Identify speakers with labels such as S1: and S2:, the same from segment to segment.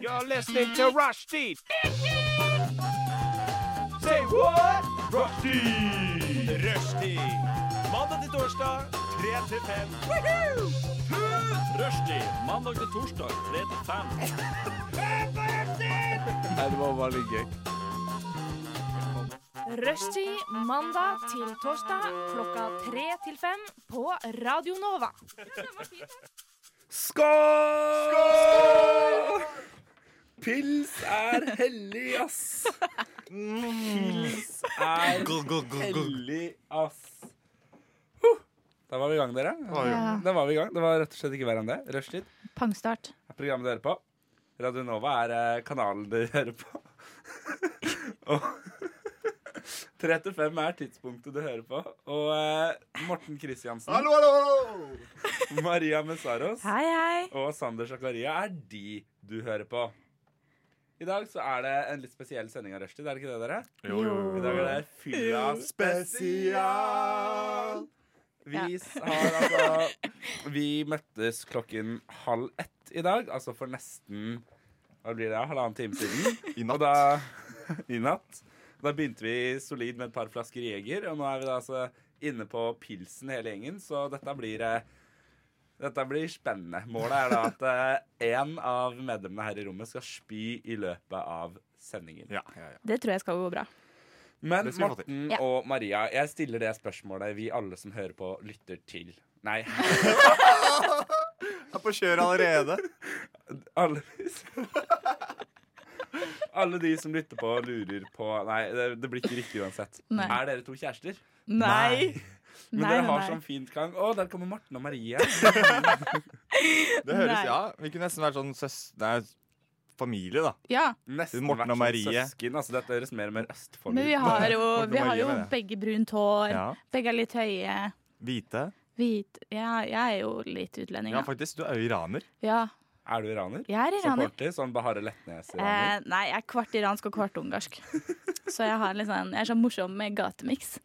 S1: You're listening to Rushdie. Say what? Rushdie. Rushdie. Mandag til torsdag, 3 til 5. Rushdie. Mandag til torsdag, 3 til 5. det var veldig gøy.
S2: Rushtid mandag til torsdag klokka tre til fem på Radio Nova.
S3: Skål! Pils er hellig, ass. Pils er hellig, ass. Huh. Da var vi i gang, dere.
S4: Ja.
S3: Da var vi i gang. Det var rett og slett ikke verre enn det. Rushtid
S4: Pangstart.
S3: er programmet dere hører på. Radio Nova er eh, kanalen dere hører på. og 3 til 5 er tidspunktet du hører på. Og eh, Morten Kristiansen,
S5: Hallo, hallo, hallo!
S3: Maria Messaros
S4: Hei, hei.
S3: og Sander Zakaria er de du hører på. I dag så er det en litt spesiell sending av Rushtid, er det ikke det, dere?
S4: Jo, jo, jo.
S3: I dag er det fyra spesial. Vi
S4: Ja.
S3: s- har altså Vi møttes klokken halv ett i dag, altså for nesten hva blir det, halvannen time siden.
S5: I
S3: Og
S5: natt.
S3: da, I natt. Da begynte vi solid med et par flasker Jeger, og nå er vi da altså inne på pilsen hele gjengen, så dette blir eh, dette blir spennende. Målet er da at én av medlemmene her i rommet skal spy i løpet av sendingen.
S5: Ja, ja, ja.
S4: Det tror jeg skal gå bra.
S3: Men
S5: Det skal vi få til.
S3: Morten
S4: Ja.
S3: og Maria, jeg stiller det spørsmålet vi alle som hører på, lytter til. Nei,
S5: Jeg er på kjøret allerede.
S3: alle Alle de som lytter på, lurer på Nei, det, det blir ikke riktig uansett.
S4: Nei.
S3: Er dere to kjærester?
S4: Nei.
S3: Men
S4: Nei,
S3: dere
S4: nei,
S3: har
S4: nei.
S3: sånn fint gang. Å, der kommer Morten og Maria.
S5: Det høres,
S4: Nei.
S5: ja. Vi kunne nesten vært sånn søs... Nei, familie, da.
S4: Ja,
S3: Nesten
S5: Morten
S3: vært
S5: og
S3: sånn
S5: Marie.
S3: Søsken. Altså, dette høres mer og mer Østfold
S4: men vi
S3: ut.
S4: har jo,
S5: Morten og
S4: vi har
S5: Maria,
S4: jo
S5: mener jeg.
S4: begge brunt hår.
S5: Ja.
S4: Begge er litt høye.
S5: Hvite.
S4: Hvit. Ja, jeg er jo litt utlending.
S5: Ja,
S4: Ja,
S5: faktisk. Du er jo iraner.
S4: ja
S3: Er du iraner?
S4: jeg er
S3: Sånn
S4: iraner.
S3: på ordentlig? Sånn Bahareh Letnes-iraner?
S4: Eh, nei, jeg er kvart iransk og kvart ungarsk. Så jeg, har litt sånn, jeg er sånn morsom med gatemiks.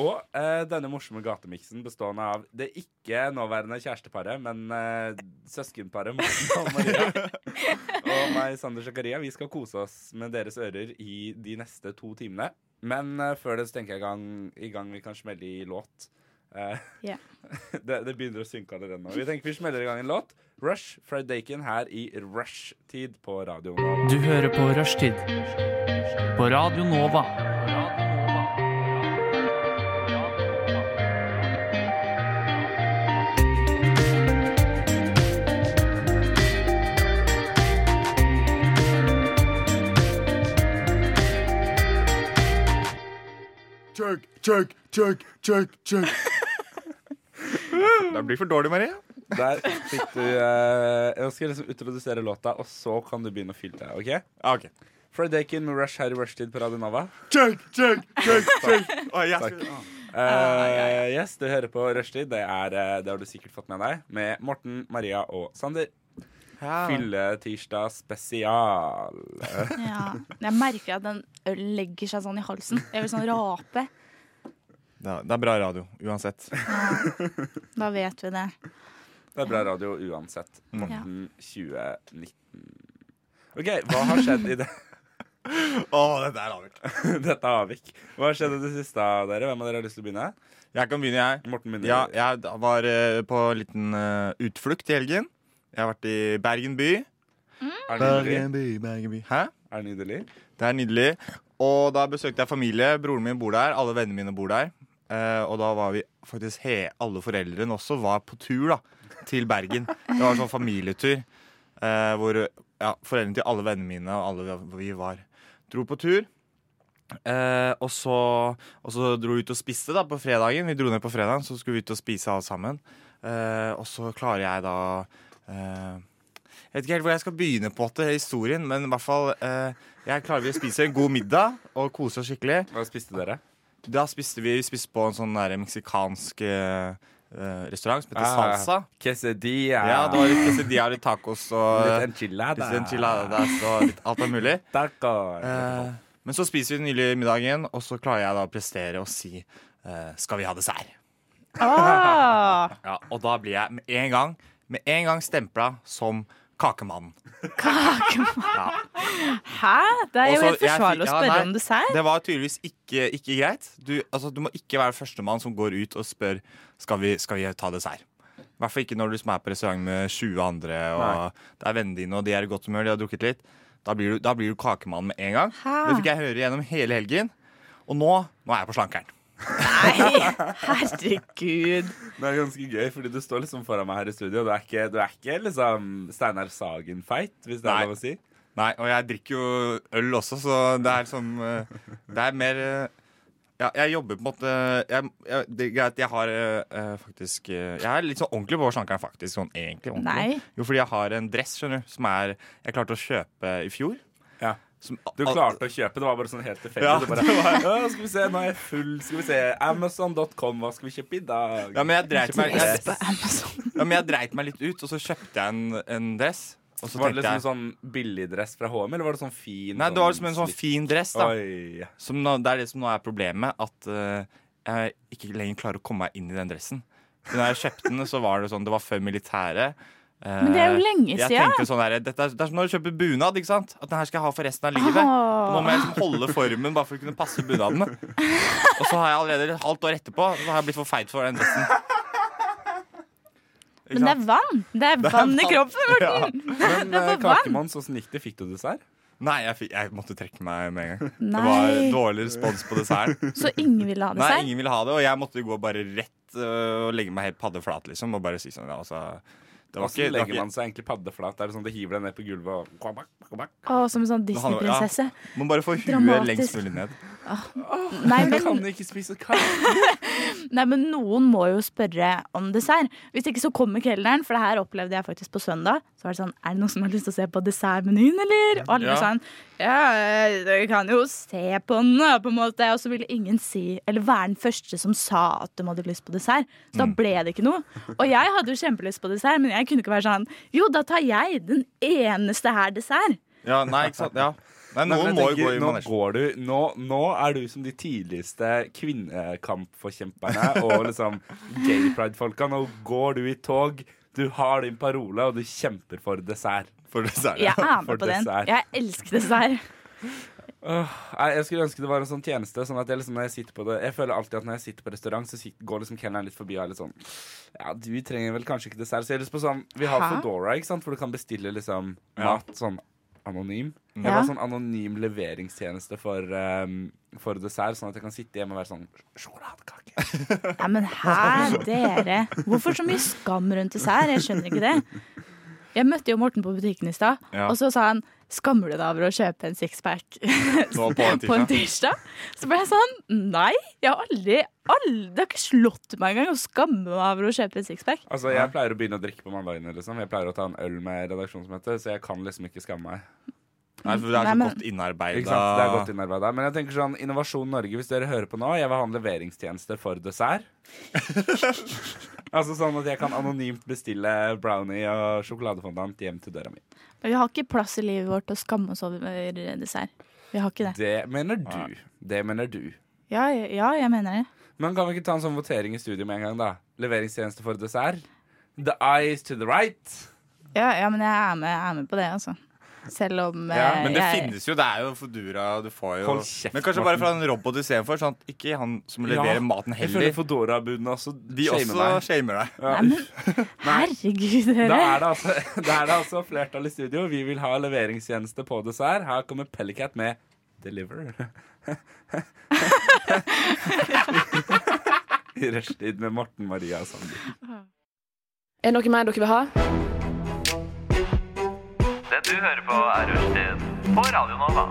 S3: Og eh, denne morsomme gatemiksen bestående av det ikke nåværende kjæresteparet, men eh, søskenparet Morten og Maria. og meg, Sander Zakaria. Vi skal kose oss med deres ører i de neste to timene. Men eh, før det så tenker jeg i gang, i gang vi kan smelle i låt. Eh,
S4: Ja.
S3: det, det begynner å synke allerede nå. Vi tenker vi smeller i gang en låt. Rush fra Dakin her i Rush-tid på radioen.
S6: Du hører på Rushtid på Radio Nova.
S5: Chug, chug, chug, chug, chug. Det blir for dårlig, Marie.
S3: Der fikk du eh, Jeg skal liksom introdusere låta, og så kan du begynne å fylle deg. ok?
S5: Ja, ok.
S3: Fred Dakin med Rush her i Rushtid på Radio Nova.
S5: Chug, chug, chug, chug. Å, jeg
S3: Takk.
S5: skulle- å.
S3: Eh, Yes, du hører på Rushtid. Det, er, eh, det har du sikkert fått med deg. Med Morten, Maria og Sander.
S5: Ah.
S3: Fylletirsdag spesial. Eh,
S4: Ja. Jeg merker at den øl legger seg sånn i halsen. Jeg vil sånn rape.
S5: Det er- det er bra radio, uansett.
S4: Da vet vi det.
S3: Det er bra radio uansett.
S5: Mm.
S3: Morten 2019. OK, hva har skjedd i det,
S5: Å, dette er avgjort.
S3: dette avvik? Hva har skjedd i det siste, dere? Hvem av dere har lyst til å begynne?
S5: Jeg kan begynne, jeg.
S3: Morten begynner.
S5: Ja, jeg da var eh, på en liten eh, utflukt i helgen. Jeg har vært i Bergen by.
S3: Er det nydelig?
S5: by, Bergen by. Hæ?
S3: Er det nydelig?
S5: Det er nydelig. Og da besøkte jeg familie. Broren min bor der. Alle vennene mine bor der. Eh, og da var vi faktisk he Alle foreldrene også var på tur da til Bergen. Det var en sånn familietur eh, hvor ja, foreldrene til alle vennene mine og alle vi var, dro på tur. Eh, og, så, og så dro vi ut og spiste da på fredagen. Vi dro ned på fredagen, så skulle vi ut og spise alle sammen. Eh, og så klarer jeg da eh, Jeg vet ikke helt hvor jeg skal begynne på det, historien, men i hvert fall eh, jeg klarer vi å spise en god middag og kose oss skikkelig.
S3: Hva spiste dere?
S5: Da spiste vi, vi spiste på en sånn der meksikansk eh, eh, restaurant som heter
S3: Ah,
S5: Salsa.
S3: Quesadilla.
S5: Ja, det var litt quesadilla, litt tacos og
S3: Litt enchilada.
S5: litt enchiladas og litt alt er mulig.
S3: Taco.
S5: Eh, men så spiser vi den nylig middagen, og så klarer jeg da å prestere og si eh, Skal vi ha dessert?
S4: Ah!
S5: Ja, og da blir jeg med en gang Med en gang stempla som Kakemann.
S4: Kakemann.
S5: Ja.
S4: Hæ? Det er jo
S5: Også,
S4: helt forsvarlig å
S5: jeg fikk- ja,
S4: spørre
S5: nei.
S4: om dessert.
S5: Det var tydeligvis ikke, ikke greit. Du, altså, du må ikke være førstemann som går ut og spør skal vi skal vi ta dessert. I hvert fall ikke når du liksom er på restaurant med 20 andre, og det er vennene dine, og de er i godt humør, de har drukket litt. Da blir du, da blir du kakemann med en gang.
S4: Hæ?
S5: Det fikk jeg høre gjennom hele helgen. Og nå, nå er jeg på slankeren.
S4: Nei, herregud.
S3: Det er ganske gøy, fordi du står liksom foran meg her i studio. Du er ikke, du er ikke liksom Steinar Sagen-feit, hvis det
S5: Nei.
S3: er lov å si.
S5: Nei, og jeg drikker jo øl også, så det er liksom eh, Det er mer eh, ja, jeg jobber på en måte jeg, jeg, Det er greit, jeg har eh, eh, faktisk eh, Jeg er litt sånn ordentlig på slankeren, faktisk. Sånn egentlig ordentlig.
S4: Nei.
S5: Jo, fordi jeg har en dress, skjønner du, som er, jeg klarte å kjøpe i fjor.
S3: Ja.
S5: Som,
S3: Du klarte å kjøpe, det var bare sånn helt tilfeldig.
S5: Ja,
S3: Du bare, ja, skal vi se, nå er jeg full. Skal vi se, Amazon.com, hva skal vi kjøpe i dag?
S5: Ja, men jeg dreit meg, jeg,
S4: På Amazon.
S5: ja, men jeg dreit meg litt ut, og så kjøpte jeg en, en dress. Og så
S3: var det
S5: tenkte
S3: liksom
S5: jeg
S3: sånn billigdress fra HM, eller var det sånn fin
S5: Nei, det var liksom en sånn fin dress, da.
S3: Oi.
S5: Som nå, det er det som nå er problemet, at eh, jeg ikke lenger klarer å komme meg inn i den dressen. For når jeg kjøpte den, så var det sånn, det var før militæret. Eh,
S4: Men det er jo lenge
S5: jeg
S4: siden.
S5: tenkte sånn der, dette er, Det er som når du kjøper bunad, ikke sant? At den her skal jeg ha for resten av livet.
S4: Åh.
S5: Nå må jeg liksom holde formen bare for å kunne passe bunaden. Og så har jeg allerede et halvt år etterpå Så har jeg blitt for feit for den dressen.
S4: Men
S5: Ikke
S4: det
S5: sant?
S4: er vann. Det er vann i kroppen, Morten.
S3: Men
S4: var
S3: eh,
S4: vann.
S3: Kakemann, sånn gikk det? Fikk du dessert?
S5: Nei, jeg, fikk, jeg måtte trekke meg med en gang. Det var
S4: Nei.
S5: dårlig respons på desserten.
S4: Så ingen ville ha
S5: Nei,
S4: dessert?
S5: ingen ville ha det, og jeg måtte gå bare rett øh, og legge meg helt paddeflat, liksom. Og bare si sånn, ja, altså Det var
S3: Hvordan
S5: ikke, det var
S3: legger
S5: ikke
S3: man seg egentlig paddeflat? Er det sånn at det hiver deg ned på gulvet og kvabak, kvabak?
S4: Å, som en sånn
S5: Det handler-
S4: Disney-prinsesse.
S5: Man bare får huet
S4: Dramatisk.
S5: lengst mulig ned.
S4: Nei,
S3: Jeg
S4: men,
S3: kan ikke spise kake.
S4: nei, men noen må jo spørre om dessert. Hvis ikke så kommer kelneren, for det her opplevde jeg faktisk på søndag. Så var det sånn, er det noen som har lyst til å se på dessertmenyen, eller? Og alle
S5: Ja.
S4: var sånn, ja, eh, dere kan jo se på den, da, på en måte. Og så ville ingen si, eller være den første som sa at de hadde lyst på dessert.
S3: Mm.
S4: Så da ble det ikke noe. Og jeg hadde jo kjempelyst på dessert, men jeg kunne ikke være sånn, jo, da tar jeg den eneste her dessert.
S5: Ja, nei, ikke sant. Ja. Nei,
S3: Nei,
S5: noen
S3: men
S5: må
S3: jeg
S5: jo gå
S3: tenker,
S5: i
S3: nå
S5: manesjen.
S3: går du nå, nå er du som de tidligste kvinnekampforkjemperne og liksom gay pride-folka. Nå går du i tog, du har din parole, og du kjemper for dessert.
S5: For dessert.
S4: Jeg er
S3: for
S4: med på den.
S3: dessert.
S4: Jeg elsker dessert.
S3: Nei, Jeg skulle ønske det var en sånn tjeneste. Sånn at Jeg liksom når jeg sitter på det Jeg føler alltid at når jeg sitter på restaurant, så sit- går liksom kelneren litt forbi og er litt sånn Ja, du trenger vel kanskje ikke dessert. Så jeg har lyst på sånn Vi har
S4: Hæ?
S3: Foodora, ikke sant, hvor du kan bestille liksom
S5: Ja.
S3: mat sånn anonym. Jeg
S4: Ja.
S3: har sånn anonym leveringstjeneste for, ehm, for dessert, sånn at jeg kan sitte hjemme og være sånn Sjokoladekake.
S4: Nei, men her, dere. Hvorfor så mye skam rundt dessert? Jeg skjønner ikke det. Jeg møtte jo Morten på butikken i stad,
S5: Ja.
S4: og så sa han Skammer du deg over å kjøpe en sixpack
S5: Nå på en
S4: på en
S5: tirsdag.
S4: tirsdag? Så ble jeg sånn Nei, jeg har aldri, aldri Det har ikke slått meg engang å skamme meg over å kjøpe en sixpack.
S3: Altså, jeg pleier å begynne å drikke på mandagene, liksom. Jeg pleier å ta en øl med redaksjonsmøte, så jeg kan liksom ikke skamme meg.
S5: Nei, for det er
S4: Nei,
S5: så
S4: men-
S3: Ikke sant?
S5: godt
S3: Det er godt
S5: innarbeida.
S3: innarbeida. Men jeg tenker sånn, Innovasjon Norge, hvis dere hører på nå, jeg vil ha en leveringstjeneste for dessert. altså sånn at jeg kan anonymt bestille brownie og sjokoladefondant hjem til døra mi.
S4: Men vi har ikke plass i livet vårt til å skamme oss over dessert. Vi har ikke det.
S3: Det mener du. Det mener du.
S4: Ja, ja jeg mener det.
S3: Men kan vi ikke ta en sånn votering i studio med en gang, da? Leveringstjeneste for dessert. The eyes to the right.
S4: Ja, ja men jeg er med, jeg er med på det, altså. Selv om
S3: Ja,
S4: eh,
S5: Men det
S4: jeg,
S5: finnes jo, det er jo Foodora og du får jo
S3: Hold kjeft,
S5: Men kanskje bare
S3: Morten.
S5: fra en robot istedenfor, sånn at ikke han som leverer
S3: Ja,
S5: maten
S3: Jeg føler
S5: heller.
S3: Foodora-budene også
S5: De
S3: shamer
S5: også
S3: meg.
S5: shamer deg.
S3: Ja.
S4: Nei, men herregud, dere.
S3: Da er, det altså, da er det altså flertall i studio. Vi vil ha leveringstjeneste på dessert. Her kommer Pellicat med Deliver. I rushtid med Morten Maria og Sander.
S7: Er det noe mer dere vil ha?
S8: Det du hører på er Rushtid på Radio Nova.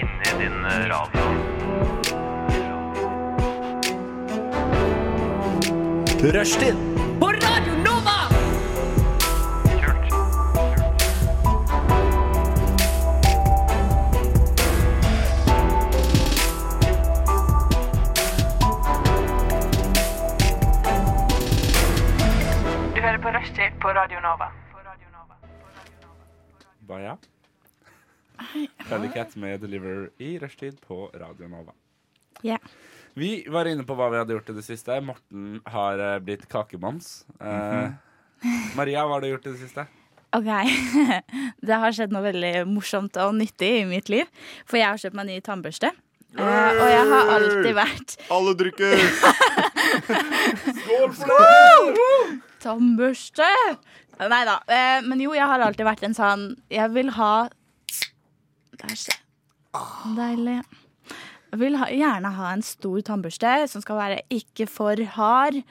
S8: Inni din radio.
S1: Rushtid
S8: Kult.
S9: Du hører på Rushtid på Radio Nova.
S3: Hva ja? Pellicat med Deliver i rushtid på Radio Nova.
S4: Ja.
S3: Vi var inne på hva vi hadde gjort i det siste. Morten har eh, blitt kakemams. Eh, Maria, hva har du gjort i det siste?
S4: Å, Ok, det har skjedd noe veldig morsomt og nyttig i mitt liv. For jeg har kjøpt meg ny tannbørste. Eh, og jeg har alltid vært
S5: Alle drikker!
S4: Tannbørste! Nei da. Eh, men jo, jeg har alltid vært en sånn Jeg vil ha Der ser Deilig. Jeg vil ha, gjerne ha en stor tannbørste som skal være ikke for hard,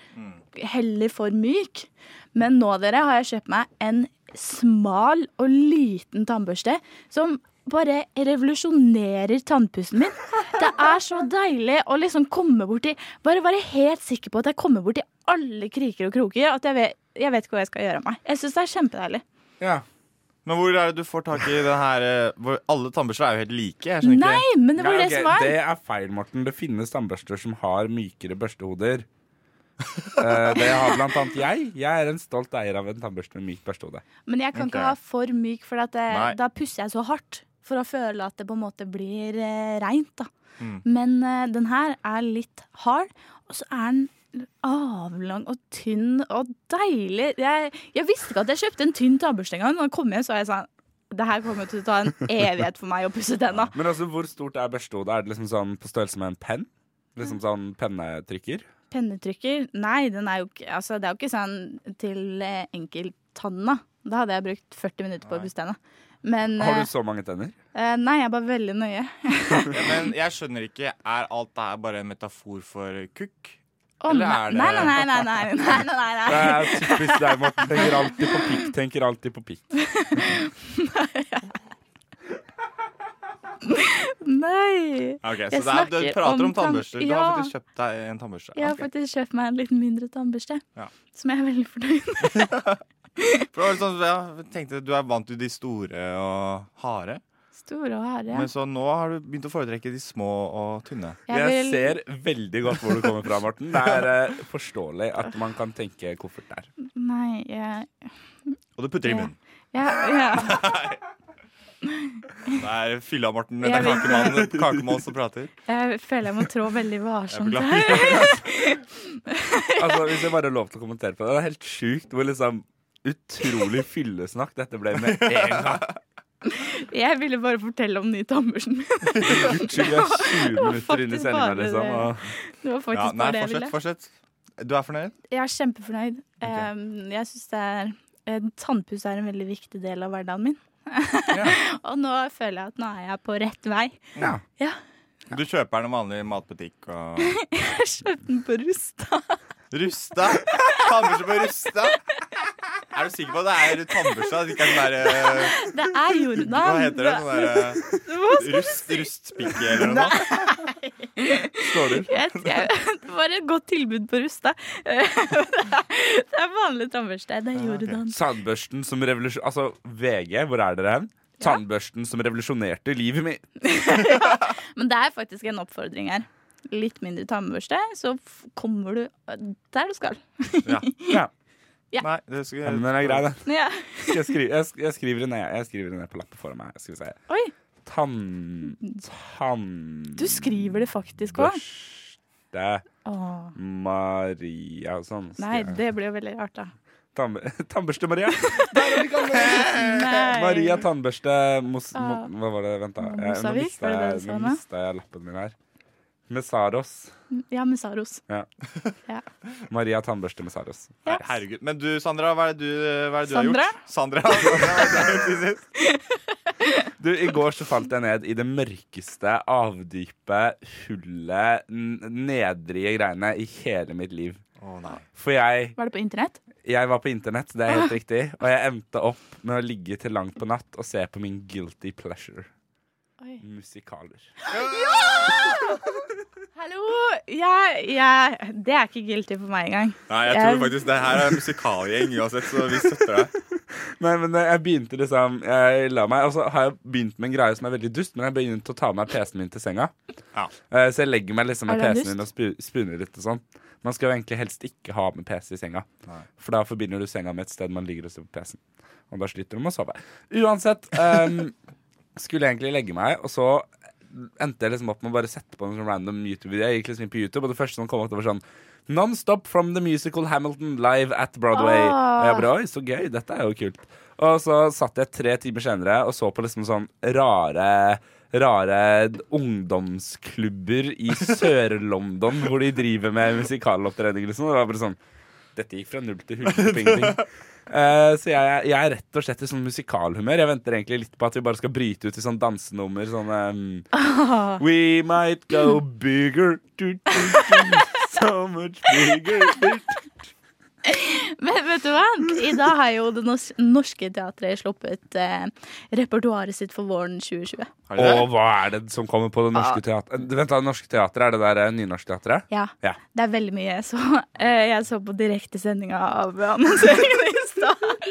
S4: heller for myk. Men nå, dere, har jeg kjøpt meg en smal og liten tannbørste som bare revolusjonerer tannpussen min. Det er så deilig å liksom komme borti Bare være helt sikker på at jeg kommer borti alle kriker og kroker. At jeg vet, jeg vet ikke hva jeg skal gjøre av meg. Jeg syns det er kjempedeilig.
S3: Ja.
S5: Men hvor er det du får tak i den her eh, hvor Alle tannbørster er jo helt like. Jeg skjønner
S4: Nei,
S5: ikke
S4: men det var
S3: Nei,
S4: det
S3: ok,
S4: som var.
S3: Det er feil, Morten. Det finnes tannbørster som har mykere børstehoder. Eh, det har blant annet jeg. Jeg er en stolt eier av en tannbørste med mykt børstehode.
S4: Men jeg kan
S5: Ok.
S4: ikke ha for myk, for at det,
S5: Nei.
S4: da pusser jeg så hardt. For å føle at det på en måte blir eh, reint, da.
S5: Mm.
S4: Men eh, den her er litt hard, og så er den avlang og tynn og deilig. Jeg, jeg visste ikke at jeg kjøpte en tynn tannbørste engang. Da kom jeg, så var jeg sånn Det her kommer til å ta en evighet for meg å pusse tenna.
S3: Men altså, hvor stort er børstehodet? Er det liksom sånn på størrelse med en penn? Liksom sånn pennetrykker?
S4: Pennetrykker? Nei, den er jo ikke Altså, det er jo ikke sånn til eh, enkelttanna. Da hadde jeg brukt 40 minutter på å pusse tenna. Men
S3: Har
S4: eh,
S3: du så mange tenner?
S4: eh, Nei, jeg er bare veldig nøye.
S5: det. Men jeg skjønner ikke. Er alt det her bare en metafor for kukk?
S4: Å,
S5: Eller
S4: nei,
S5: er det-
S4: nei, nei, nei, nei, nei, nei, nei, nei,
S3: Det
S4: nei.
S3: er typisk deg, Morten. Tenker alltid på pikk. Tenker alltid på pikk.
S4: nei.
S5: Ok,
S4: Jeg
S5: Så det er, du
S4: snakker
S5: prater
S4: om
S5: om tannbørster. Du har
S4: tann-
S5: faktisk kjøpt deg en tannbørste.
S4: Jeg har
S5: Ok.
S4: faktisk kjøpt meg en litt mindre tannbørste,
S5: Ja.
S4: som jeg er veldig fornøyd med.
S5: For det var litt sånn, jeg tenkte Du er vant til de store og harde,
S4: Store og harde.
S5: men så nå har du begynt å foretrekke de små og tynne.
S4: Jeg
S3: Jeg
S4: vil-
S3: ser veldig godt hvor du kommer fra, Morten. Det er eh, forståelig at man kan tenke koffert der.
S4: Nei, jeg,
S5: Og du putter i
S4: Ja.
S5: munnen.
S4: jeg, jeg,
S5: Det er fylla, Morten. Det
S4: Jeg
S5: er
S4: vil-
S5: kakemann, kakemann som prater.
S4: jeg føler jeg må trå veldig
S5: Jeg
S4: varsomt her.
S5: beklager.
S3: Altså, Hvis jeg bare har lov til å kommentere på det, det er helt sjukt hvor liksom utrolig fyllesnakk dette ble med en gang.
S4: Jeg ville bare fortelle om den nye tannbørsten min.
S3: Unnskyld, jeg er 20 minutter inn i sendinga,
S4: Faktisk bare det.
S3: liksom. Og
S4: Det var
S5: Ja,
S4: faktisk bare
S5: nei,
S4: det jeg
S5: fortsett,
S4: ville.
S5: fortsett. Du er fornøyd?
S4: Jeg er kjempefornøyd. Um, jeg syns det er eh, Tannpuss er en veldig viktig del av hverdagen min. og nå føler jeg at nå er jeg på rett vei.
S5: Du kjøper den i en vanlig matbutikk og
S4: Jeg kjøpte den på Rusta.
S5: Rusta? Tannbørste på Rusta? Er du sikker på at det er tannbørste? At det ikke er sånn der eh,
S4: Det er Jordan.
S5: Hva heter det? Sånn der
S4: Hva
S5: eh, rust, rustpikke eller noe sånt?
S3: ståler.
S4: Jeg, jeg, det var et godt tilbud på Rusta. Det er- det er vanlig tannbørste. Det er Jordan.
S3: Tannbørsten som revolusjon... Altså, VG, hvor er dere hen? Tannbørsten som revolusjonerte livet mitt.
S4: Men det er faktisk en oppfordring her. Litt mindre tannbørste, så f- kommer du eh, der du skal.
S3: Ja,
S5: Nei, det skal
S3: men den er grei, den.
S4: Ja.
S3: Skal Jeg, skrive, jeg, sk- jeg skriver det ned Jeg skriver det ned på lappen foran meg. Skal vi se.
S4: Oi.
S3: Tann... Tann...
S4: Du skriver det faktisk òg.
S3: Børste Maria sånn. skal
S4: Nei,
S3: jeg-
S4: det blir jo veldig rart, da.
S3: Tann, Tannbørste-Maria. Der er vi gamle!
S4: Nei.
S3: Maria Tannbørste Mos, mo,
S4: Ah.
S3: Hva var det? Vent, da. Eh, Nå
S4: Mosavik,
S3: mista
S4: var det det
S3: jeg,
S4: du sa
S3: nå
S4: nå?
S3: mistet jeg lappen min her. Messaros.
S4: Ja, med Saros.
S3: Maria Tannbørste Messaros.
S5: Nei, Herregud. Men du, Sandra, hva er det du, hva er det du har
S4: Sandra?
S5: gjort? Sandra? Sandra, hva er det du har gjort siden sist?
S3: Du, I går så falt jeg ned i det mørkeste, avdypet hullet, n- nedrige greiene i hele mitt liv.
S5: Å, nei.
S3: For jeg,
S4: Var det på internett?
S3: jeg var på internett, det er helt
S4: Ah.
S3: riktig, og jeg endte opp med å ligge til langt på natt og se på min guilty pleasure.
S4: Oi.
S3: Musikaler.
S4: Hallo! Jeg, jeg Det er ikke guilty for meg engang.
S5: Nei, jeg tror faktisk det her er en musikalgjeng uansett, så vi støtter deg.
S3: Nei, men eh, jeg begynte liksom Jeg la meg, og så har jeg begynt med en greie som er veldig dust, men jeg begynte å ta med PC-en min til senga.
S5: Ja.
S3: Eh, Så jeg legger meg liksom med
S4: Er det en
S3: PC-en min og spu- spooner litt og sånn. Man skal jo egentlig helst ikke ha med PC i senga,
S5: Nei.
S3: for da forbinder du senga med et sted man ligger og ser på PC-en. Og da sliter du med å sove. Uansett, ehm, skulle jeg egentlig legge meg, og så endte jeg liksom opp med å bare sette på en sånn random YouTube-video. Jeg gikk liksom inn på YouTube, og det første som kom opp, det var sånn Non-stop from the musical Hamilton live at Broadway.
S4: Ah.
S3: Og jeg bare Oi, så gøy. Dette er jo kult. Og så satt jeg tre timer senere og så på liksom sånn rare Rare ungdomsklubber i Sør-London hvor de driver med musikalopptrening. Liksom. Det var bare sånn Dette gikk fra null til hundre på ingenting. Eh, så jeg, jeg er rett og slett i sånn musikalhumør. Jeg venter egentlig litt på at vi bare skal bryte ut i sånn dansenummer. Sånn ehm, We might go bigger. Du, du, du, so much bigger. Du, du.
S4: Men vet du hva? I dag har jo Det Nos- Norske Teatret sluppet eh, repertoaret sitt for våren 2020.
S5: Har de det?
S3: Og hva er det som kommer på Det
S4: Ah.
S3: Norske Eh, Teatret? Vent, da, Det Norske Teatret, er det der eh, Nynorsk Teatret?
S4: Ja.
S3: Ja.
S4: Det er veldig mye. Så eh, jeg så på direktesendinga av annonseringene i stad.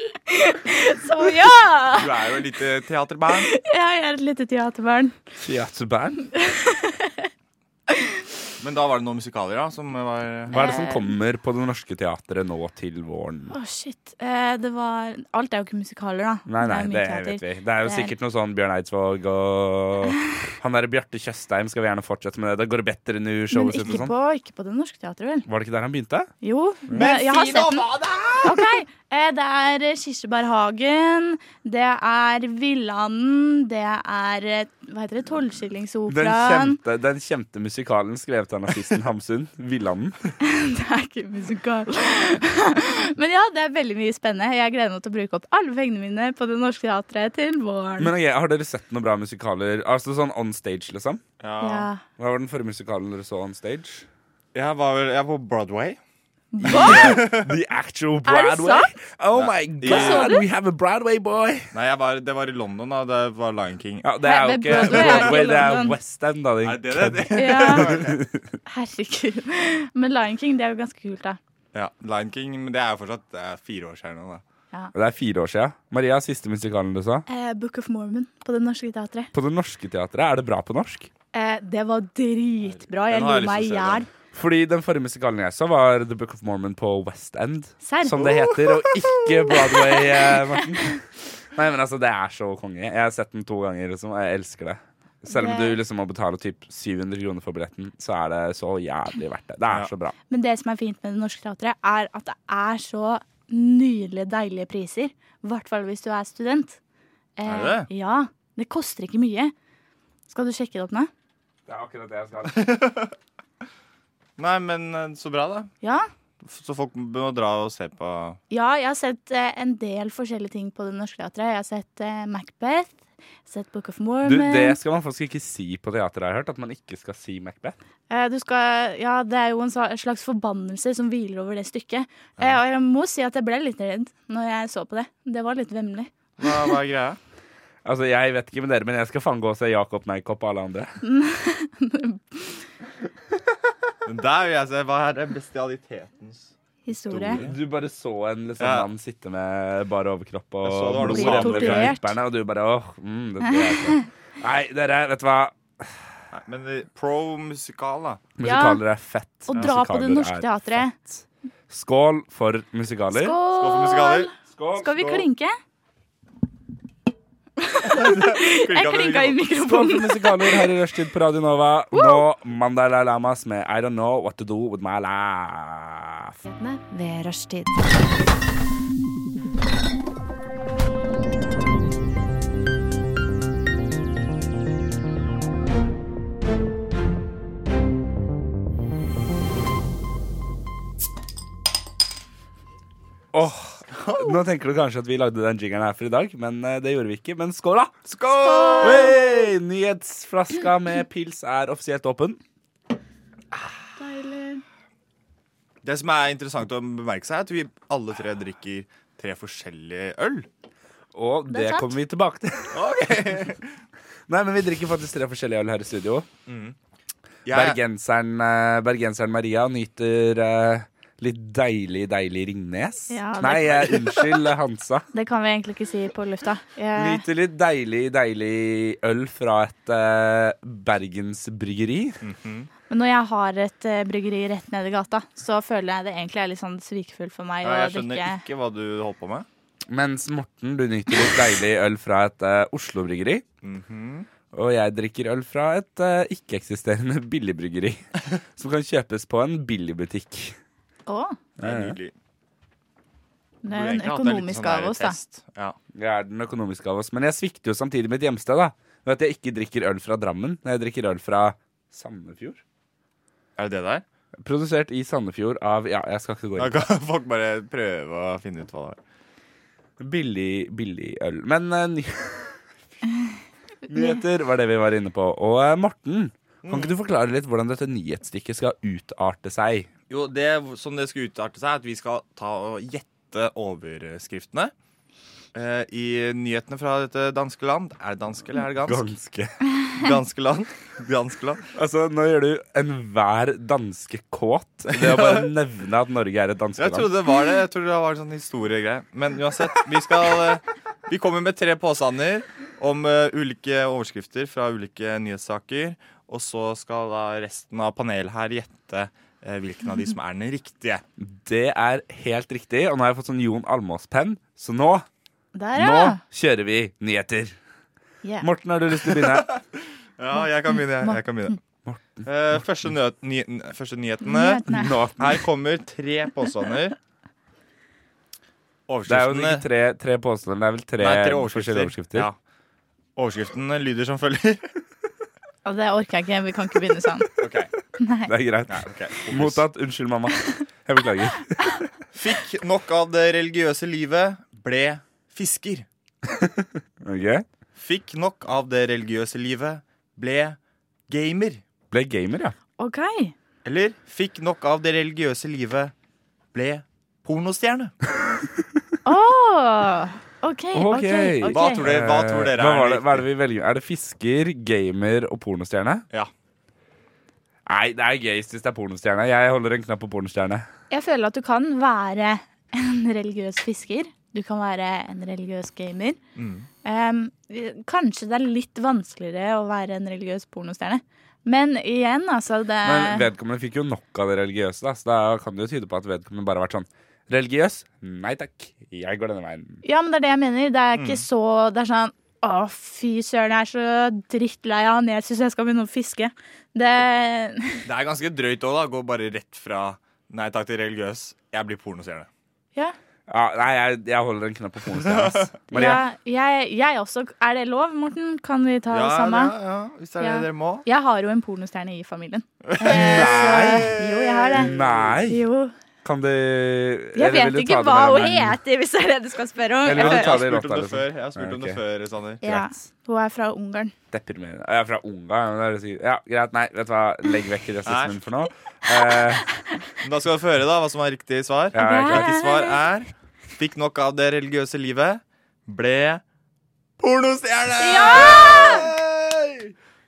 S4: Så ja!
S5: Du er jo et lite teaterband.
S4: Jeg er et lite teaterbarn.
S3: Teaterband?
S5: Men da var det noen musikaler, da, som var
S3: Hva er
S4: Eh.
S3: det som kommer på Det Norske Teatret nå til våren?
S4: Å, shit. Eh, det var Alt er jo ikke musikaler, da.
S3: Nei, nei, det
S4: er mye
S3: vet
S4: teater.
S3: vi. Det er jo
S4: Det er-
S3: sikkert noe sånn Bjørn Eidsvåg og Han derre Bjarte Tjøstheim skal vi gjerne fortsette med det. Da går det bedre nå,
S4: Men
S3: showet sitt og
S4: ikke
S3: sånn.
S4: på, ikke på Det Norske Teatret, vel?
S3: Var det ikke der han begynte?
S4: Jo. Men jeg har sett den. Ok, eh, Det er eh, Kirsebærhagen, det er Villanden, det er eh, Hva heter det?
S3: Den
S4: Tolvskillingsoperaen.
S3: kjente, den kjente musikalen skrevet av nazisten Hamsun, Villanden.
S4: Det er ikke musikal. Men ja, det er veldig mye spennende. Jeg gleder meg til å bruke opp alle pengene mine på Det Norske Teatret til våren.
S3: Men ok, Har dere sett noen bra musikaler? Altså sånn on stage, liksom?
S4: ja.
S3: Hva var den forrige musikalen dere så on stage?
S5: Jeg var vel jeg var på Broadway.
S3: The actual
S4: Er det
S3: Broadway? Oh my
S5: sa
S3: god, we have a Broadway boy!
S5: Nei, jeg var, det var i London, da. Det var Lion King.
S3: Ja, det er jo
S4: Nei, men
S3: ikke
S4: Broadway er
S3: Broadway,
S4: ikke
S3: det er
S4: London.
S3: West End, da. din
S5: Er det det?
S3: kødd.
S4: ja. Herregud. Men Lion King, det er jo ganske kult, da.
S5: Ja, Lion King, men det er jo fortsatt det er fire år siden nå. da.
S3: Det er fire år sia. Maria, siste musikalen du så?
S4: Eh, Book of Mormon på Det Norske Teatret.
S3: På Det Norske Teatret, er det bra på norsk?
S4: Eh, det var dritbra. Jeg
S5: Den
S4: lo
S5: har jeg lyst til
S4: meg i
S5: å se,
S4: hjel.
S3: Fordi den forrige musikalen jeg så, var The Book of Mormon på West End.
S4: Serr?
S3: Som det heter, og ikke Broadway, eh, Morten. Nei, men altså, det er så konge. Jeg har sett den to ganger, liksom, og jeg elsker det. Selv om
S4: Det-
S3: du liksom må betale typ 700 kroner for billetten, så er det så jævlig verdt det. Det er
S5: Ja.
S3: så bra.
S4: Men det som er fint med Det Norske Teatret, er at det er så nydelige, deilige priser. I hvert fall hvis du er student. Eh,
S5: Er det det?
S4: Ja. Det koster ikke mye. Skal du sjekke det opp nå?
S3: Det er akkurat det jeg skal.
S5: Nei, men eh, så bra, da.
S4: Ja.
S5: F- Så folk må dra og se på
S4: ja, jeg har sett eh, en del forskjellige ting på Det Norske Teatret. Jeg har sett eh, Macbeth, sett Book of
S3: Du,
S4: Mormon.
S3: det skal man faktisk ikke si på teateret, har jeg hørt. At man ikke skal si Macbeth.
S4: Eh, Du skal, ja, det er jo en sa- slags forbannelse som hviler over det stykket. Eh, Og jeg må si at jeg ble litt redd når jeg så på det. Det var litt vemmelig.
S5: Hva, hva er greia?
S3: Altså, jeg vet ikke med dere, men jeg skal faen gå og se Jakob Meikopp og alle andre.
S5: Den der vil jeg se. Hva er det bestialitetens
S4: Historie.
S5: Store.
S3: Du bare så en liksom,
S5: Ja.
S3: mann sitte med bare overkropp og
S5: Jeg så det var noe
S3: blod renner fra
S4: torturert.
S3: nipperne, og du bare åh, mm, det tror jeg ikke. Nei, dere, vet du hva?
S5: Nei, men eh, pro musikal, da.
S3: Musikaler er fett.
S4: Og dra på
S3: Musikaler
S4: Det Norske
S3: er
S4: Teatret.
S3: fett. Skål for musikaler.
S5: Skål for musikaler.
S4: Skål!
S3: Skål.
S4: Skal vi
S5: Skål.
S4: klinke? Jeg klinka i
S3: Skål for
S4: mikrofonen.
S3: musikaler her i Rushtid på Radio Nova. Nå Mandala Lamas med I Don't Know What To Do With My Life.
S10: ved rushtid.
S3: Åh, Nå tenker du kanskje at vi lagde den jingeren her for i dag, men eh, det gjorde vi ikke. Men skål, da!
S5: Skål!
S3: Hey! Nyhetsflaska med pils er offisielt åpen.
S5: Det som er interessant å bemerke seg, er at vi alle tre drikker tre forskjellige øl.
S3: Og det,
S4: er sant.
S3: kommer vi tilbake til. Nei, men vi drikker faktisk tre forskjellige øl her i studio.
S5: Jeg,
S3: Bergenseren, eh, bergenseren Maria nyter eh, litt deilig, deilig Ringnes.
S4: Ja, det-
S3: Nei, eh, unnskyld, Hansa.
S4: Det kan vi egentlig ikke si på lufta. Jeg-
S3: Nyter litt deilig, deilig øl fra et eh, bergensbryggeri.
S4: Men når jeg har et eh, bryggeri rett nede i gata, så føler jeg det egentlig er litt sånn svikefullt for meg
S5: ja,
S4: å
S5: jeg skjønner
S4: drikke.
S5: ikke hva du holdt på med.
S3: Mens Morten, du nyter litt deilig øl fra et eh, Oslo-bryggeri. Og jeg drikker øl fra et eh, ikke-eksisterende billigbryggeri. Som kan kjøpes på en billigbutikk.
S4: Å,
S5: Det er nydelig.
S4: Det er den økonomiske av oss, da.
S5: sånn Ja.
S3: Jeg er den økonomiske av oss. Men jeg svikter jo samtidig mitt hjemsted. da Ved at jeg ikke drikker øl fra Drammen. Jeg drikker øl fra Sandefjord.
S5: Er det det der?
S3: Produsert i Sandefjord av Ja, jeg skal ikke gå
S5: Da
S3: inn.
S5: kan folk bare prøve å finne ut hva det er.
S3: Billig, billig øl. Men eh, ny... nyheter var det vi var inne på. Og eh, Morten, kan ikke du forklare litt hvordan dette nyhetsstykket skal utarte seg?
S5: Jo, det som det skal utarte seg, er at vi skal ta og gjette overskriftene. Eh, I nyhetene fra dette danske land Er det danske eller er det gansk?
S3: Ganske.
S5: Ganske land. Ganske land.
S3: Altså, nå gjør du enhver danske kåt. Det å bare nevne at Norge er et
S5: Jeg
S3: danskeland.
S5: trodde det var det. Jeg trodde det var en sånn historiegreie. Men uansett, vi skal eh, Vi kommer med tre påstander om eh, ulike overskrifter fra ulike nyhetssaker. Og så skal da resten av panelet her gjette eh, hvilken av de som er den riktige.
S3: Det er helt riktig, og nå har jeg fått sånn Jon Almås-penn, så nå,
S4: Der,
S3: nå
S4: ja.
S3: kjører vi nyheter.
S4: Yeah.
S3: Morten, har du lyst til å begynne?
S5: Ja, jeg kan begynne. Jeg, jeg kan begynne. Eh, første, nø- ny, første nyhetene.
S4: Nyhetene.
S3: Nå.
S5: Her kommer tre påstander.
S3: Det er jo ikke tre, tre påstander, det er vel tre,
S5: Nei, tre
S3: forskjellige overskrifter.
S5: Ja. Overskriften lyder som følger.
S4: Og det orker jeg ikke. Vi kan ikke begynne sånn.
S5: Ok.
S4: Nei.
S3: Det er greit.
S5: Nei, ok.
S3: Mottatt. Unnskyld, mamma. Jeg beklager.
S5: Fikk nok av det religiøse livet, ble fisker.
S3: Ok.
S5: Fikk nok av det religiøse livet, ble gamer.
S3: Ble gamer, ja.
S4: OK.
S5: Eller fikk nok av det religiøse livet, ble pornostjerne.
S4: Åh, OK.
S3: Ok.
S4: OK. ok.
S5: Hva tror du- dere- hva
S3: Eh,
S5: tror dere
S3: hva
S5: er
S3: var det,
S5: riktig?
S3: hva er det vi velger? Er det fisker, gamer og pornostjerne?
S5: Ja.
S3: Nei, det er gøyest hvis det er pornostjerne. Jeg holder en knapp på pornostjerne.
S4: Jeg føler at du kan være en religiøs fisker. Du kan være en religiøs gamer.
S3: Mm.
S4: Em, kanskje det er litt vanskeligere å være en religiøs pornostjerne. Men igjen, altså det
S3: Men vedkommende fikk jo nok av det religiøse, da, så da kan det jo tyde på at vedkommende bare har vært sånn Religiøs? Nei takk, jeg går denne veien.
S4: Ja, men det er det jeg mener. Det er
S3: Mm.
S4: ikke så Det er sånn Å, fy søren, jeg er så drittlei av han. Jeg syns jeg skal begynne å fiske. Det
S5: Det er ganske drøyt òg, da. Går bare rett fra nei takk til religiøs, jeg blir pornostjerne.
S4: Ja.
S3: Ja, nei, jeg, jeg holder en knapp på pornostjerna. ass. Maria,
S4: Ja, jeg, jeg også. Er det lov, Morten? Kan vi ta det samme?
S5: hvis
S4: er det Ja. dere
S5: må.
S4: Jeg har jo en pornostjerne i familien. Eh, så- Jo, jeg har det.
S3: Nei!
S4: Jo.
S3: Kan du
S4: Jeg
S3: eller vil
S4: vet
S3: du ta
S4: ikke
S3: det
S4: hva
S3: mellom-
S4: hun heter, hvis det er det du skal spørre om.
S3: Eller vil du
S5: Jeg
S3: ta
S5: har
S3: det i
S5: spurt om
S3: låta,
S5: det før,
S3: liksom?
S5: jeg har spurt om det
S3: Ok.
S5: før Sander.
S4: Ja, hun er fra Ungarn.
S3: Deprimerende. Jeg er fra Ungarn. men det er det sikkert- Ja, greit. Nei, vet du hva. Legg vekk rasismen for nå. Eh,
S5: Men Da skal du få høre da, hva som er riktig svar.
S3: ja, jeg er klar.
S5: Riktig svar er Fikk nok av det religiøse livet Ble pornostjerne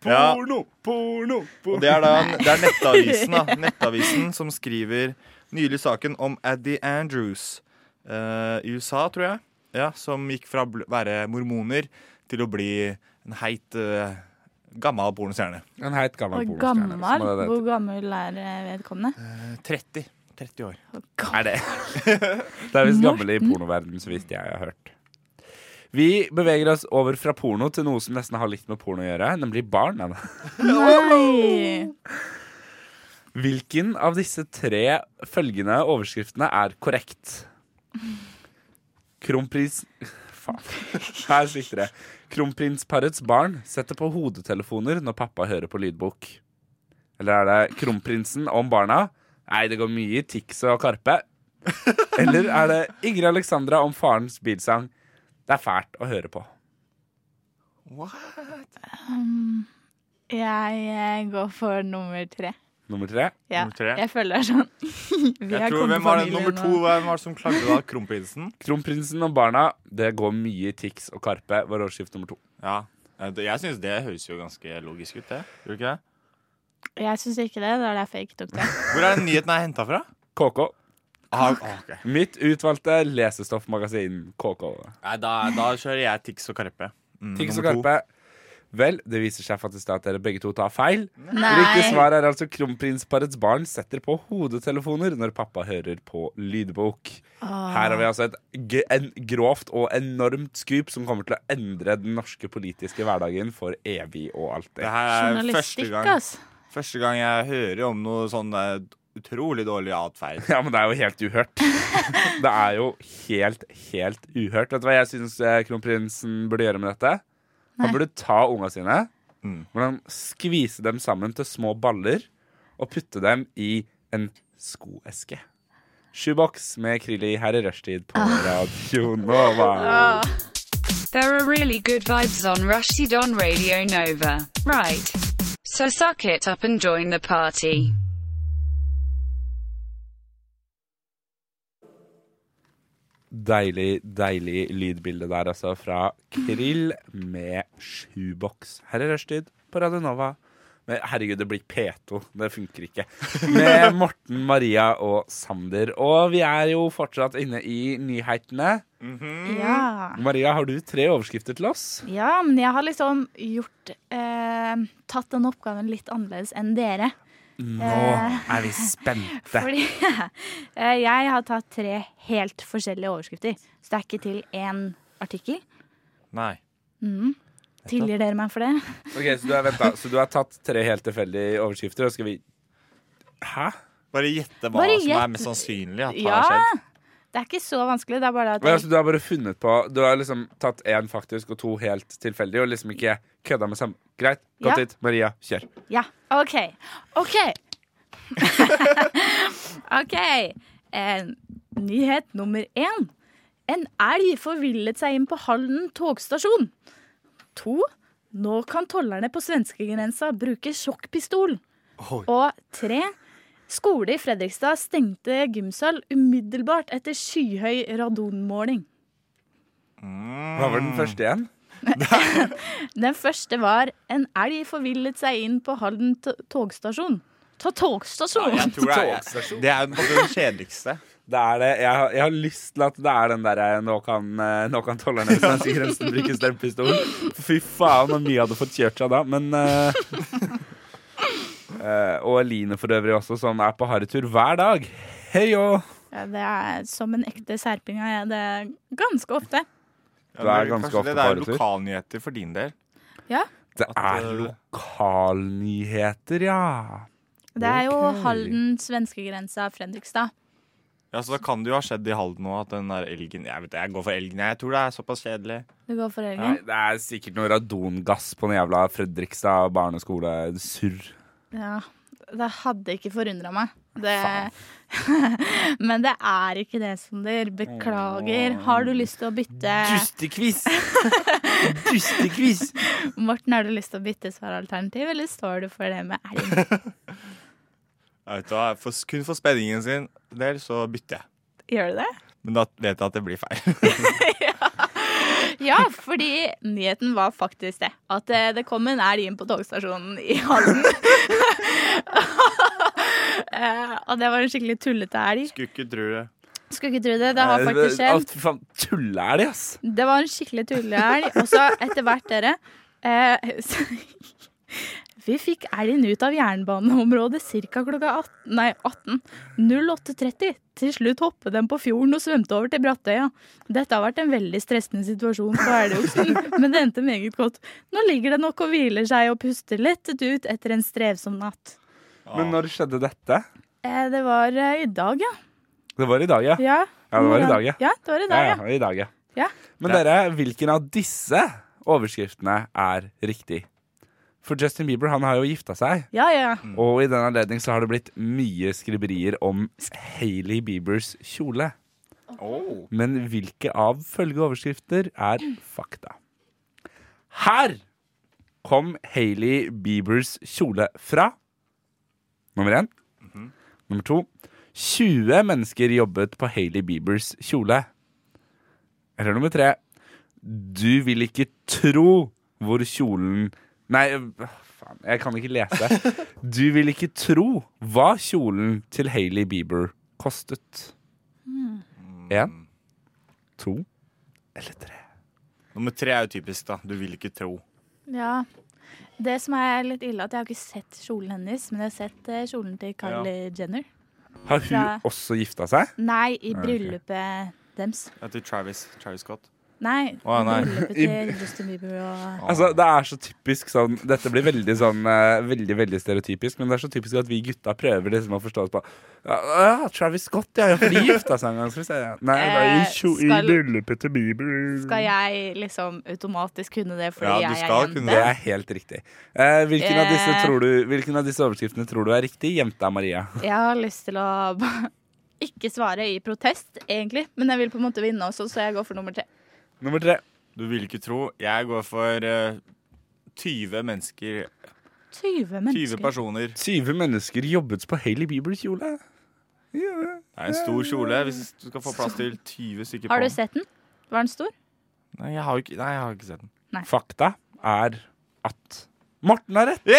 S5: Ja!
S3: Porno, porno,
S5: Og
S3: porno.
S5: det er da det er nettavisen da Nettavisen som skriver Nylig saken om Eddie Andrews eh, I USA tror jeg ja, Som gikk fra å bl- være mormoner Til å bli en heit eh, Gammel pornostjerne
S3: En heit gammel
S4: Og
S3: pornostjerne.
S4: gammel.
S3: som hadde det-
S4: Hvor gammel er eh, vedkommende?
S5: 30, 30 år
S3: Er det Det er visst gammel i
S4: Morten.
S3: pornoverdenen, så vidt jeg har hørt. Vi beveger oss over fra porno til noe som nesten har litt med porno å gjøre, nemlig barn. Anna.
S4: Nei!
S3: Hvilken av disse tre følgende overskriftene er korrekt? Kronprins... Faen. Her svikter det. Kronprinsparets barn setter på hodetelefoner når pappa hører på lydbok. Eller er det kronprinsen om barna? Nei, det går mye i Tix og Karpe. Eller er det Ingrid Alexandra om farens bilsang? Det er fælt å høre på.
S4: Um, Jeg eh, går for nummer tre.
S3: Nummer tre.
S4: Ja,
S5: Nummer tre?
S4: Jeg føler det er sånn. Vi
S5: Jeg
S4: er
S5: tror, hvem var det nummer to?
S4: kongefamilien nå.
S5: Hvem var det som klagde da? Kronprinsen?
S3: Kronprinsen om barna. Det går mye i Tix og Karpe, var overskrift nummer to.
S5: Ja. Jeg syns det høres jo ganske logisk ut, det. Gjør det ikke det?
S4: Jeg syns ikke det. Det er derfor jeg ikke tok det.
S5: Hvor er den nyheten er henta fra?
S3: KK.
S5: Ah, ok.
S3: Mitt utvalgte lesestoffmagasin KK.
S5: Nei, da, da kjører jeg Tix og Karpe. Mm,
S3: Tix og
S5: nummer to.
S3: Karpe. Vel, det viser seg faktisk da at dere begge to tar feil. Riktig
S4: Nei.
S3: svar er altså kronprinsparets barn setter på hodetelefoner når pappa hører på lydbok. Her har vi altså et g en grovt og enormt skup som kommer til å endre den norske politiske hverdagen for evig og
S5: Det
S3: alltid.
S5: her er første
S4: Journalistikk,
S5: gang,
S4: ass.
S5: første gang jeg hører om noe sånn eh, utrolig dårlig atferd.
S3: Ja, men det er jo helt uhørt. Det er jo helt, helt uhørt. Vet du hva jeg syns eh, kronprinsen burde gjøre med dette? Han burde ta unga sine,
S5: Mm.
S3: hvordan skvise dem sammen til små baller, og putte dem i en skoeske. Sjuboks med Krilli her i rushtid på Radio Nova.
S10: There are really good vibes on Rushdie Don Radio Nova. Right. So suck it up and join the party.
S3: Deilig, deilig lydbilde der, altså, fra Krill med sjuboks. Her er rushtid på Radio Nova. Men herregud, det blir P2. Det funker ikke. Med Morten, Maria og Sander. Og vi er jo fortsatt inne i nyhetene.
S5: Mm. Mhm.
S4: Ja.
S3: Maria, har du tre overskrifter til oss?
S4: ja, men jeg har liksom gjort eh, Tatt den oppgaven litt annerledes enn dere.
S3: Nå er vi spente.
S4: Fordi eh, jeg har tatt tre helt forskjellige overskrifter. Så det er ikke til én artikkel.
S5: Nei.
S4: Tilgir dere meg for det?
S3: Ok, Så du har, vent da. Så du har tatt tre helt tilfeldige overskrifter, og skal vi Hæ?
S5: Bare gjette hva
S4: Bare
S5: som
S4: gjett.
S5: er mest sannsynlig at
S4: Ja.
S5: har skjedd.
S4: Det er ikke så vanskelig. Det er bare
S3: Ja,
S4: det
S3: så
S4: at
S3: altså, du har bare funnet på Du har liksom tatt én faktisk og to helt tilfeldig, og liksom ikke kødda med samme. Greit, gå
S4: Ja.
S3: dit. Maria, kjør.
S4: Ja, OK. OK. OK. Eh, nyhet nummer én. En elg forvillet seg inn på Halden togstasjon. To. Nå kan tollerne på svenskegrensa bruke sjokkpistol. Og tre. Skole i Fredrikstad stengte gymsal umiddelbart etter skyhøy radonmåling.
S3: Hva var den
S5: Mm.
S3: første igjen?
S4: Den første var en elg forvillet seg inn på Halden to- togstasjon. Ta togstasjon!
S5: Jeg tror det er, det er på den kjedeligste.
S3: Det er det. Jeg, har- jeg har lyst til at det er den derre Nå kan, eh, nå kan tollerne på svenskegrensen bruke stempistol. Fy faen, hvor mye jeg hadde fått kjørt seg da. Men eh, eh, Og Eline for øvrig også, som er på harrytur hver dag. Hei og
S4: Ja, det er som en ekte serping er jeg det ganske ofte.
S5: Ja,
S3: Du er
S5: men
S3: ganske
S5: kanskje
S3: ofte
S5: det, det
S3: på
S5: er
S3: retur.
S5: lokalnyheter for din del.
S3: Det
S5: At,
S3: er
S5: eh,
S3: lokalnyheter, ja.
S4: Det er jo
S3: Ok.
S4: Halden, svenskegrensa, Fredrikstad.
S5: Ja, Så da kan det jo ha skjedd i Halden òg, at den der elgen Jeg vet, jeg går for elgen. jeg. Jeg tror det er såpass kjedelig.
S4: Det går for
S3: Nei,
S4: Elgen.
S3: det er sikkert noe radongass på den jævla Fredrikstad barneskole. Surr.
S4: Ja. Det hadde ikke forundra meg. Det... Men det er ikke det, Sander. Beklager. Har du lyst til å bytte
S3: Dustekviss! Dustekviss!
S4: Morten, har du lyst til å bytte svaralternativ, eller står du for det med elg?
S5: Jeg vet hva, for, kun for spenningen sin del så bytter jeg.
S4: Gjør du det?
S5: Men da vet jeg at det blir feil.
S4: Ja, fordi nyheten var faktisk det. At eh, det kom en elg inn på togstasjonen i Halden. Eh, og det var en skikkelig tullete elg.
S5: Skulle ikke tro det.
S4: Skulle ikke tro det. Det har faktisk skjedd.
S3: Fy faen, tulle er de, ass!
S4: Det var en skikkelig tullete elg. Og så etter hvert, dere eh, så- Vi fikk elgen ut av jernbaneområdet ca. klokka 18, nei, 18. 08.30. Til slutt hoppet den på fjorden og svømte over til Brattøya. Dette har vært en veldig stressende situasjon for elgoksen, men det endte meget godt. Nå ligger den nok og hviler seg og puster lettet ut etter en strevsom natt.
S3: Men når skjedde dette?
S4: Eh, det var eh, i dag, ja.
S3: Det var i dag, ja.
S4: Ja,
S3: Ja, det var i dag, ja.
S4: Ja, det var i
S3: Ja,
S4: dag, ja.
S3: ja, i dag, ja.
S4: Ja.
S3: Men dere, hvilken av disse overskriftene er riktig? For Justin Bieber han har jo gifta seg,
S4: Ja, ja, ja.
S3: og i den anledning så har det blitt mye skriverier om Hailey Biebers kjole. Men hvilke av følgende overskrifter er fakta? Her kom Hailey Biebers kjole fra. Nummer én. Nummer to. 20 mennesker jobbet på Hailey Biebers kjole. Eller nummer tre. Du vil ikke tro hvor kjolen Nei, øh, faen, jeg kan ikke lese. Du vil ikke tro hva kjolen til Hailey Bieber kostet.
S4: Hmm.
S3: Én, to eller tre.
S5: Nummer tre er jo typisk, da. Du vil ikke tro.
S4: ja. Det som er litt ille, at jeg har ikke sett kjolen hennes, men jeg har sett eh, kjolen til Kylie Jenner.
S3: Har hun
S4: Fra-
S3: også gifta seg?
S4: Nei, i
S3: ok.
S4: bryllupet dems.
S5: Etter Travis, Travis Scott.
S4: Nei.
S5: Å, nei.
S4: Bryllupet til Justin Bieber og
S3: Altså, det er så typisk sånn Dette blir veldig sånn eh, Veldig, veldig stereotypisk, men det er så typisk at vi gutta prøver liksom å forstå oss på Ja, ja, Travis Scott, ja, ja, for de gifta seg en gang, skal vi se. ja. Nei, det er
S4: Eh,
S3: jo tjo i
S4: skal-
S3: bryllupet til Bieber.
S4: Skal jeg liksom automatisk kunne det fordi
S5: Ja, du
S4: jeg
S5: skal
S4: er
S5: kunne
S3: Det
S4: jente?
S3: er helt riktig. Eh, hvilken, av disse
S4: Eh.
S3: tror du, hvilken av disse overskriftene tror du er riktig? Jenta Maria.
S4: Jeg har lyst til å ba- ikke svare i protest, egentlig. Men jeg vil på en måte vinne også, så jeg går for nummer tre.
S3: Nummer tre.
S5: Du vil ikke tro. Jeg går for eh, 20 mennesker.
S4: 20
S5: 20
S4: mennesker.
S5: personer.
S3: 20 mennesker jobbet på Hailey Bieber-kjole. Ja.
S5: Det er en stor kjole hvis du skal få plass til 20 stykker på
S4: Har du
S5: den.
S4: sett den? Var den stor?
S5: Nei, jeg har jo ikke, nei, jeg har ikke sett den.
S3: Fakta er at Morten har rett! Det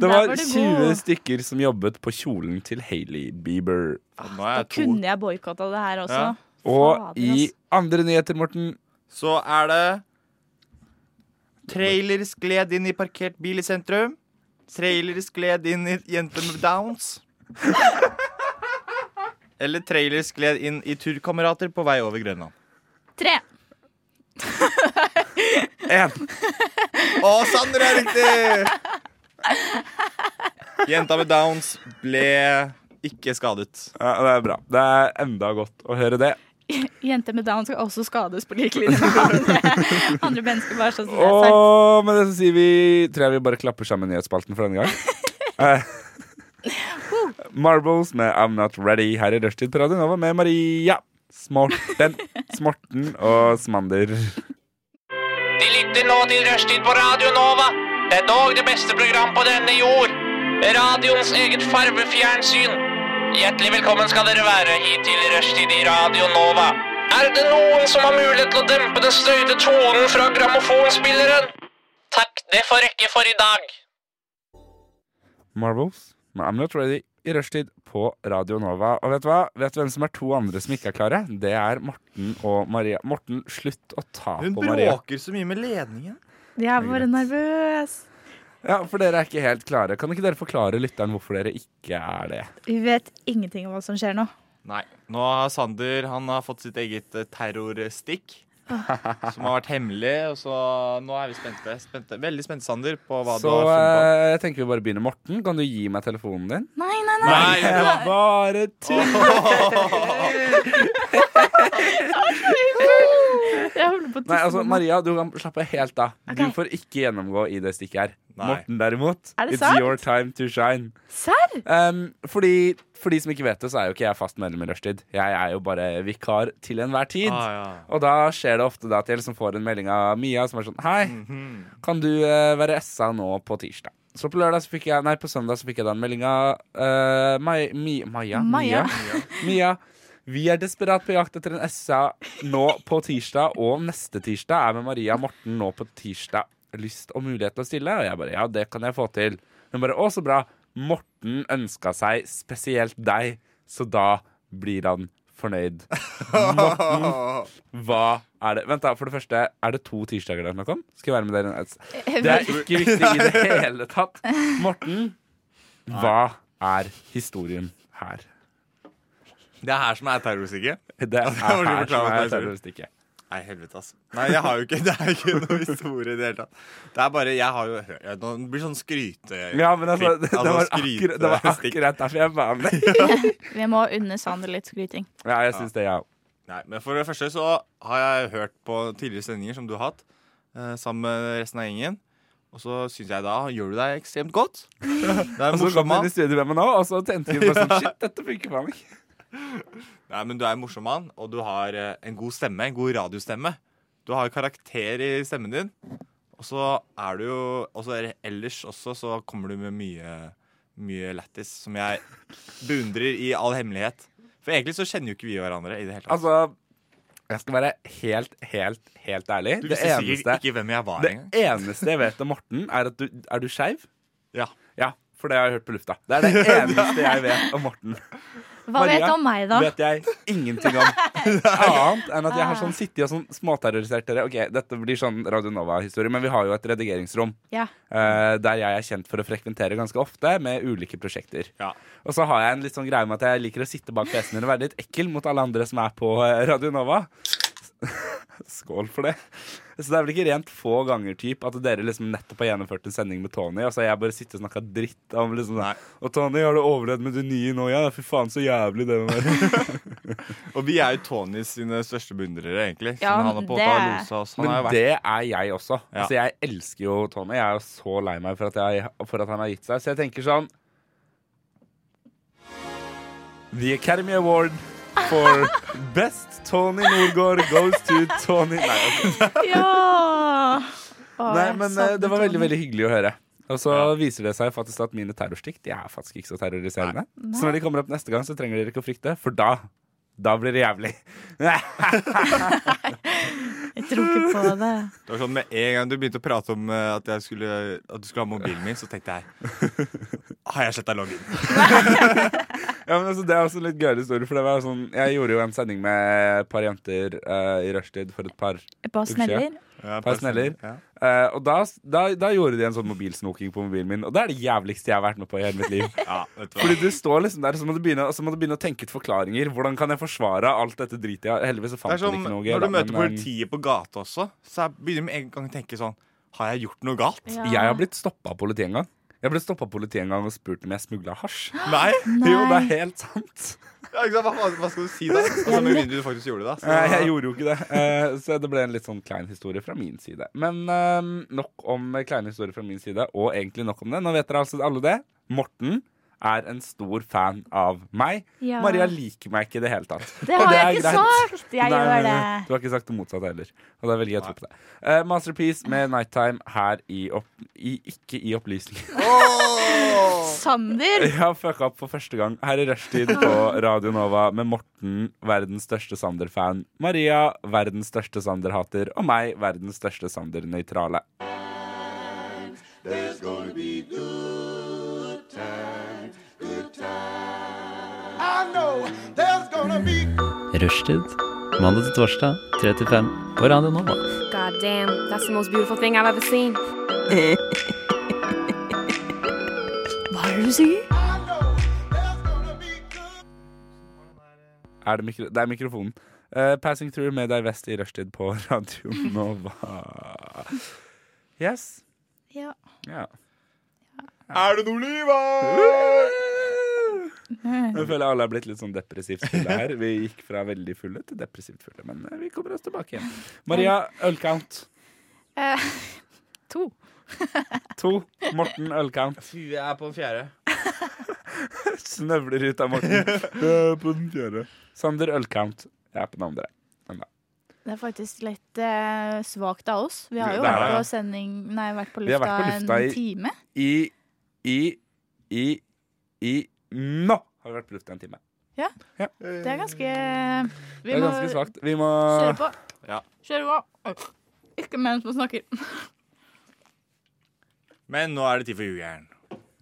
S4: Der
S3: var
S4: var du
S3: 20
S4: god.
S3: stykker som jobbet på kjolen til Hailey Bieber.
S5: Og nå er
S4: Da
S5: jeg to.
S4: kunne jeg boikotta det her også.
S5: Ja.
S3: Og
S4: Fader,
S3: i
S4: ass.
S3: andre nyheter, Morten
S5: Så er det Trailer skled inn i parkert bil i sentrum. Trailer skled inn i jente med downs. Eller trailer skled inn i turkamerater på vei over Grønland.
S4: Tre.
S3: En.
S5: Å, Sander er riktig! Jenta med downs ble ikke skadet.
S3: Ja, det er bra. Det er enda godt å høre det.
S4: Jenter med down skal også skades på lik linje med andre, andre mennesker. bare sånn som det er sagt.
S3: Og med det så sier vi Tror jeg vi bare klapper sammen nyhetsspalten for denne gang. Eh, Marbles med I'm Not Ready her i Rushtid på Radio Nova med Maria. Smorten, Smorten og Smander.
S8: De lytter nå til Rushtid på Radio Nova. Det er dog det beste program på denne jord. Radioens eget farvefjernsyn. Hjertelig velkommen skal dere være hit til Rushtid i Radio Nova. Er det noen som har mulighet til å dempe den støyte tonen fra grammofonspilleren? Takk, det får rekke for i dag.
S3: Marbles med I'm Not Ready i Rushtid på Radio Nova. Og vet du hva? Vet du hvem som er to andre som ikke er klare? Det er Morten og Maria. Morten, slutt å ta
S5: Hun
S3: på Maria.
S5: bråker så mye med ledningen.
S4: Jeg er bare nervøs.
S3: Ja, For dere er ikke helt klare. Kan ikke dere forklare lytteren hvorfor dere ikke er det?
S4: Vi vet ingenting om hva som skjer nå.
S5: Nei. Nå har Sander han har fått sitt eget eh, terrorstikk. Som har vært hemmelig. Og så nå er vi spente. spente veldig spente, Sander, på hva
S3: Så
S5: du har funnet på.
S3: eh, jeg tenker vi bare begynner. Morten, kan du gi meg telefonen din?
S4: Nei, nei, nei.
S5: Nei,
S3: Det
S5: det
S3: var bare tull!
S4: Jeg holder på å
S3: Nei,
S4: tisse
S3: altså,
S4: på meg.
S3: Maria, du kan slappe helt av.
S4: Ok.
S3: Du får ikke gjennomgå i det stikket her.
S5: Nei.
S3: Morten, derimot,
S4: Er det
S3: it's
S4: sant?
S3: your time to shine.
S4: Serr?
S3: Um, fordi, for de som ikke vet det, så er jo ikke jeg fast medlem i Rushtid. Jeg er jo bare vikar til enhver tid.
S5: Ah, ja.
S3: Og da skjer det ofte da at jeg liksom får en melding av Mia som er sånn Hei, kan du eh, være SA nå på tirsdag? Så på lørdag så fikk jeg Nei, på søndag så fikk jeg da en melding av eh, Mai, Mi, Maja,
S4: Maja.
S3: Mia. Mia. Vi er desperat på jakt etter en SA nå på tirsdag, og neste tirsdag er med Maria Morten nå på tirsdag. Lyst og mulighet til å stille? Og jeg bare ja, det kan jeg få til. Hun bare å, så bra. Morten ønska seg spesielt deg, så da blir han fornøyd. Morten hva er det? Vent da, for det første Er det to tirsdager der snakker om? Skal jeg være med dere? en- Det er ikke viktig i det hele tatt Morten, hva er historien her?
S5: Det er her som er terrorstikket.
S3: Det er
S5: må du
S3: her som
S5: forklare
S3: er
S5: meg, sorry.
S3: terroristikket
S5: Nei, helvete, altså. Nei, jeg har jo ikke, det er ikke noe historie i det hele tatt. Det er bare Jeg har jo hørt jeg- Nå blir det sånn skryte...
S3: Ja, men altså,
S5: klipp,
S3: det, det, var
S5: skryte-
S3: akkurat, det var
S5: stikk.
S3: akkurat derfor jeg var med
S4: Vi må unne Sander litt skryting.
S3: Ja, jeg synes det, ja
S5: Nei, men for det første så har jeg hørt på tidligere sendinger som du har hatt, eh, sammen med resten av gjengen. Og så syns jeg da gjør du deg ekstremt godt. Det
S3: Og
S5: er en
S3: så
S5: morsom
S3: kom hun i
S5: mann.
S3: studio med meg nå Og så tenkte vi bare sånn, shit, dette funker faen ikke
S5: Nei, men du er en morsom mann, og du har eh, en god stemme, en god radiostemme. Du har karakter i stemmen din. Og så er du jo Og så er det ellers også så kommer du med mye, mye lættis som jeg beundrer i all hemmelighet. For egentlig så kjenner jo ikke vi hverandre i det hele tatt.
S3: Altså, jeg skal være helt, helt, helt ærlig
S5: du
S3: Det
S5: visste sikkert
S3: eneste,
S5: ikke hvem jeg var
S3: det
S5: engang.
S3: eneste jeg vet om Morten Er at du, er du skjev?
S5: Ja.
S3: Ja, for det har jeg hørt på lufta. Det er det eneste jeg vet om Morten.
S4: Hva
S3: Maria,
S4: vet du om meg, da?
S3: vet jeg ingenting om. Annet enn at jeg har
S4: Ah.
S3: sånn sittet og sånn småterrorisert dere. Ok, dette blir sånn Radio Nova-historie, men vi har jo et redigeringsrom
S4: Ja.
S3: eh, der jeg er kjent for å frekventere ganske ofte med ulike prosjekter.
S5: Ja.
S3: Og så har jeg en litt sånn greie med at jeg liker å sitte bak PC-en min og være litt ekkel mot alle andre som er på eh, Radio Nova. Skål for det. Så det er vel ikke rent få ganger typ at dere liksom nettopp har gjennomført en sending med Tony, og så har jeg bare sittet og snakka dritt om liksom Og Tony, har du overlevd med det nye nå? Ja, fy faen, så jævlig det må være.
S5: og vi er jo Tonys sine største beundrere, egentlig.
S3: Ja,
S5: siden han har
S3: men
S5: på
S3: det-
S5: det... losa oss. Han
S3: Men
S5: har jo vært
S3: det er jeg også.
S5: Ja.
S3: Altså, jeg elsker jo Tony. Jeg er jo så lei meg for at, jeg, for at han har gitt seg. Så jeg tenker sånn The Academy Award for Best Tony Norgård goes to Tony Nei, ok.
S4: Ja!
S3: Nei men eh, det var veldig, veldig hyggelig å høre. Og så viser det seg faktisk at mine terrorstikt De er faktisk ikke så terroriserende.
S4: Nei.
S3: Så når de kommer opp neste gang, så trenger dere ikke å frykte, for da da blir det jævlig.
S4: Jeg tror ikke på det.
S5: Det var sånn Med en gang du begynte å prate om eh, at, jeg skulle, at du skulle ha mobilen min, så tenkte jeg Har jeg sletta loggen?
S3: Ja, men altså, det er også en litt gøyere historie. For det var sånn, jeg gjorde jo en sending med et par jenter eh, i rushtid for et par
S4: Et par
S3: uker siden.
S4: sneller. Ja,
S3: Et
S4: par
S3: par sneller.
S4: sneller,
S3: Eh, og da, da, da gjorde de en sånn mobilsnoking på mobilen min, og det er det jævligste jeg har vært med på i hele mitt liv.
S5: du hva.
S3: Fordi du står liksom der, så må du begynne, og så må du begynne å tenke ut forklaringer. Hvordan kan jeg forsvare alt dette dritet jeg Heldigvis så
S5: Det
S3: fant
S5: er som
S3: hun ikke noe gøy.
S5: når du
S3: da, men,
S5: møter
S3: eh,
S5: politiet på gata også, så jeg begynner med en gang å tenke sånn Har jeg gjort noe galt?
S3: Ja. eh, Jeg har blitt stoppa av politiet en gang. Jeg ble stoppa av politiet en gang og spurt om jeg smugla hasj.
S5: Nei.
S3: Jo, det er helt sant.
S5: Ja, ikke sant? Hva, hva skal du si da? Altså, med mindre du faktisk gjorde det. da. Så-
S3: Eh, Jeg gjorde jo ikke det. Eh, Så det ble en litt sånn klein historie fra min side. Men eh, nok om eh, kleine historier fra min side, og egentlig nok om det. Nå vet dere altså alle det. Morten er en stor fan av meg.
S4: Ja.
S3: Maria liker meg ikke i det hele tatt.
S4: Det
S3: Og
S4: har
S3: er
S4: jeg ikke sagt! Jeg
S3: Nei,
S4: gjør
S3: nei, nei.
S4: det.
S3: Du har ikke sagt det motsatte heller. Og da velger jeg å tro på det. Eh, Masterpiece med Nighttime her i, opp, i Ikke i opplysning.
S4: Sander!
S3: Jeg har fucka opp for første gang her i rushtid på Radio Nova med Morten, verdens største Sander-fan, Maria, verdens største Sander-hater, og meg, verdens største Sander-nøytrale.
S11: There's gonna be good times, good times. I know there's gonna be
S12: Rushtid. Mandag til torsdag, 3 til 5 på Radio Nova.
S7: God damn, that's the most beautiful thing I've ever seen.
S4: Hva er det du sier?
S3: Er det, mikro det er mikrofonen. Eh, passing through med deg vest i rushtid på Radio Nova. Yes.
S4: Ja.
S3: Ja.
S5: Er det noe liv her?
S3: Jeg føler alle er blitt litt sånn depressivt fulle her. Vi gikk fra veldig fulle til depressivt fulle, men eh, vi kommer oss tilbake igjen. Maria, ølcount.
S2: Eh, to.
S3: To. Morten, ølcount.
S13: Hun er på den fjerde.
S3: Snøvler ut av Morten. Jeg er på den fjerde. Sander Ølcount. Jeg er på den andre. Enda.
S4: Det er faktisk litt eh, svakt av oss. Vi har jo
S3: Det er
S4: vært
S3: det.
S4: på sending Nei, vært på
S3: Vi har
S4: lufta,
S3: vært på lufta
S4: en
S3: i-
S4: time.
S3: I, i, i, i Nå har vi vært på lufta en time.
S4: Ja. Det er ganske Vi
S3: det er
S4: må
S3: ganske svakt. Vi må
S4: kjøre på. Kjøre på. Oi. Ikke mens man snakker.
S5: Men nå er det tid for jugeren.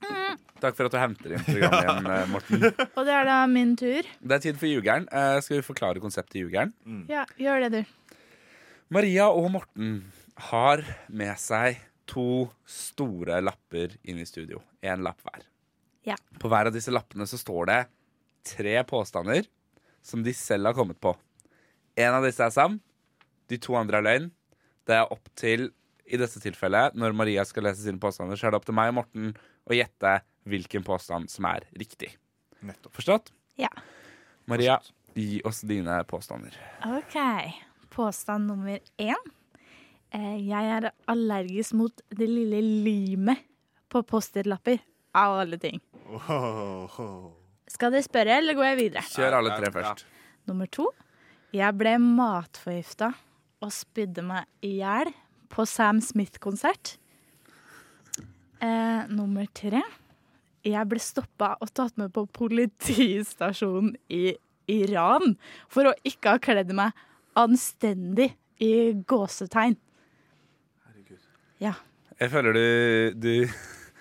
S3: Takk for at du henter inn programmet igjen, eh, Morten.
S4: Og det er da min tur.
S3: Det er tid for Jugeren. Eh, skal vi forklare konseptet Jugeren?
S4: Ja, gjør det, du.
S3: Maria og Morten har med seg to store lapper inn i studio. Én lapp hver.
S4: Ja.
S3: På hver av disse lappene så står det tre påstander som de selv har kommet på. En av disse er sann, de to andre er løgn. Det er opp til, i dette tilfellet, når Maria skal lese sine påstander, så er det opp til meg og Morten å gjette hvilken påstand som er riktig. Forstått?
S4: Ja.
S3: Maria, gi oss dine påstander.
S4: OK. Påstand nummer én. Eh, jeg er allergisk mot det lille limet på Post-It-lapper. Av alle ting. Skal dere spørre, eller går jeg videre?
S3: Kjør alle tre først.
S4: Nummer to. Jeg ble matforgifta og spydde meg i hjel på Sam Smith-konsert. Eh, nummer tre. Jeg ble stoppa og tatt med på politistasjonen i Iran for å ikke ha kledd meg anstendig i gåsetegn. Ja.
S3: Jeg føler du, du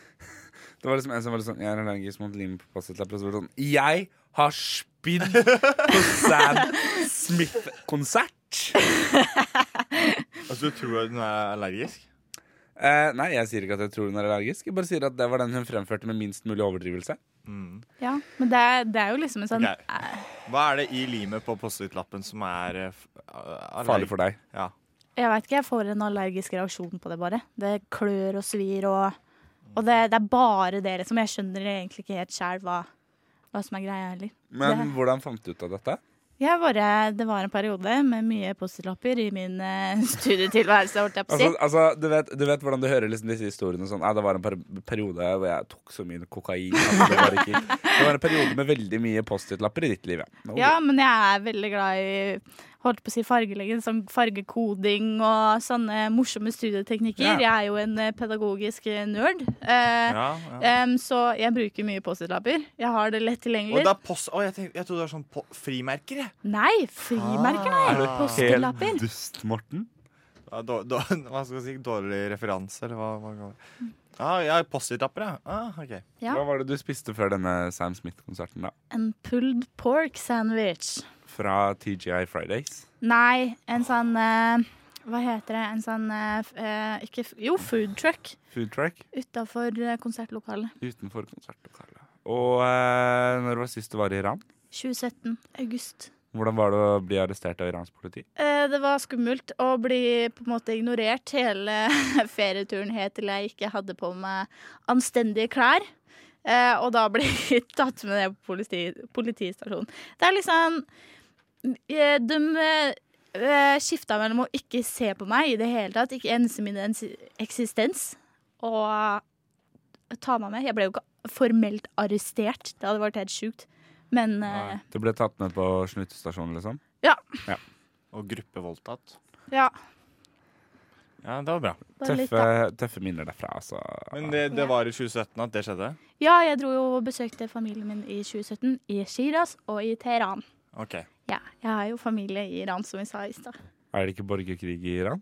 S3: Det var liksom en som var litt sånn Jeg er allergisk mot lim på post-it-lapper. Og så var det sånn Jeg har spydd på Sam Smith-konsert!
S5: Altså, du tror at hun er allergisk?
S3: Eh, nei, jeg sier ikke at jeg tror hun er allergisk. Jeg bare sier at det var den hun fremførte med minst mulig overdrivelse.
S4: ja. Men det er, det er jo liksom en sånn
S3: Ok.
S4: eh,
S5: Hva er det i limet på Post-It-lappen som er eh, f- eh,
S3: Farlig for deg.
S5: Ja.
S4: Jeg veit ikke, jeg får en allergisk reaksjon på det bare. Det klør og svir og Og det, det er bare det, liksom. Jeg skjønner egentlig ikke helt sjæl hva, hva som er greia heller.
S3: Men
S4: det,
S3: hvordan fant du ut av dette?
S4: jeg bare, det var en periode med mye Post-It-lapper i min eh, studietilværelse, holdt jeg på å si.
S3: Altså, altså, du, vet, du vet hvordan du hører liksom disse historiene sånn «Nei, Det var en per periode hvor jeg tok så mye kokain. at det, var ikke, det var en periode med veldig mye Post-It-lapper i ditt liv. Ja. Nå-
S4: Ja, men jeg er veldig glad i holdt på å si fargelegging, sånn fargekoding og sånne morsomme studieteknikker.
S3: Ja.
S4: Jeg er jo en eh, pedagogisk eh, nerd, eh,
S5: Ja, ja.
S4: em, så jeg bruker mye Post-It-lapper. Jeg har det lett
S5: Og
S4: tilgjengelig.
S5: det er post... Å, jeg, tenk- jeg trodde det var sånn po frimerker, jeg.
S4: Nei, frimerker,
S3: Ah.
S4: nei.
S5: Er du
S4: Post-It-lapper.
S3: dust, Morten?
S5: Ja, da- da- hva skal jeg si? Dårlig referanse, eller hva? hva kan man- ah, ja, Post-It-lapper, ja. Ah, ok.
S4: Ja.
S3: Hva var det du spiste før denne Sam Smith-konserten? da?
S4: En pulled pork sandwich.
S3: Fra TGI Fridays?
S4: Nei, en sånn eh, Hva heter det? En sånn eh, f- eh, ikke, f- Jo, food truck
S3: Food track
S4: utafor konsertlokalet.
S3: utenfor konsertlokalet. Og eh, når var sist du var i Iran?
S4: 2017. August.
S3: Hvordan var det å bli arrestert av iransk politi?
S4: Eh, Det var skummelt å bli på en måte ignorert hele ferieturen helt til jeg ikke hadde på meg anstendige klær. Eh, Og da ble jeg tatt med ned på politi, politistasjonen. Det er liksom eh, De eh, skifta mellom å ikke se på meg i det hele tatt, ikke ense min ens- eksistens, og ta meg med. Jeg ble jo ikke formelt arrestert. Det hadde vært helt sjukt. Men eh,
S3: Du ble tatt med på snuttestasjonen, liksom?
S4: ja.
S3: Ja.
S5: Og gruppevoldtatt.
S4: ja.
S5: Ja, det var bra.
S4: Det var litt, eh,
S3: Tøffe, tøffe minner derfra, altså.
S5: Men det, det var i 2017 at det skjedde?
S4: Ja, jeg dro jo og besøkte familien min i 2017 i Shiraz og i Teheran.
S5: Ok.
S4: Ja, jeg har jo familie i Iran, som vi sa i stad.
S3: Er det ikke borgerkrig i Iran?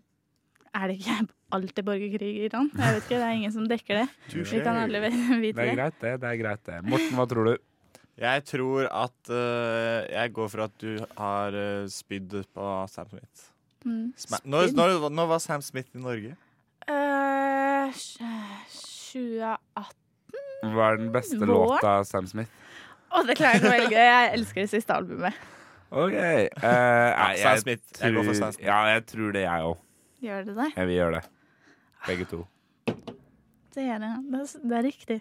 S4: Er det ikke alltid borgerkrig i Iran? Jeg vet ikke, Det er ingen som dekker det. Vi kan alle ve-
S3: Det
S4: vite
S3: er
S4: det.
S3: greit, det. det er greit det Morten, hva tror du?
S5: Jeg tror at eh, Jeg går for at du har eh, spydd på Sam Smith.
S4: Mm.
S5: Sma- Når, når, når var Sam Smith i Norge?
S4: Eh, sj- 2018
S3: Hva er den beste
S4: Vår?
S3: låta av Sam Smith?
S4: Å, det klarer jeg ikke å velge. Jeg elsker det siste albumet.
S3: OK. eh, nei,
S5: Sam Smith. Jeg går for Sam Smith.
S3: Ja, jeg tror det, jeg òg.
S4: Gjør det det?
S3: Jeg vil gjøre det. Begge to.
S4: Det gjør det. Det er, s- det er riktig.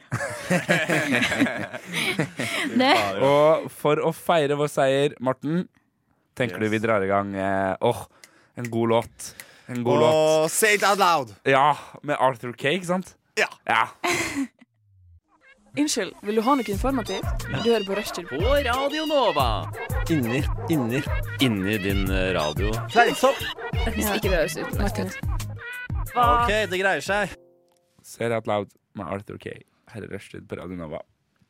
S5: Det-
S3: Og for å feire vår seier, Morten, tenker du vi drar i gang eh, Åh, en god låt. En god
S5: Åh,
S3: låt.
S5: Say it out loud!
S3: Ja, med Arthur Kay, ikke sant?
S5: Ja.
S13: Unnskyld, vil du ha noe informativt? Du hører på Rushtid. På Radio Nova.
S12: Inni, inni, inni din eh, radio.
S13: Fleipsopp. Hvis ikke det høres ut.
S12: OK, det greier seg.
S3: Say it out loud med Arthur Kay. Herre Rushtid på Radio Nova.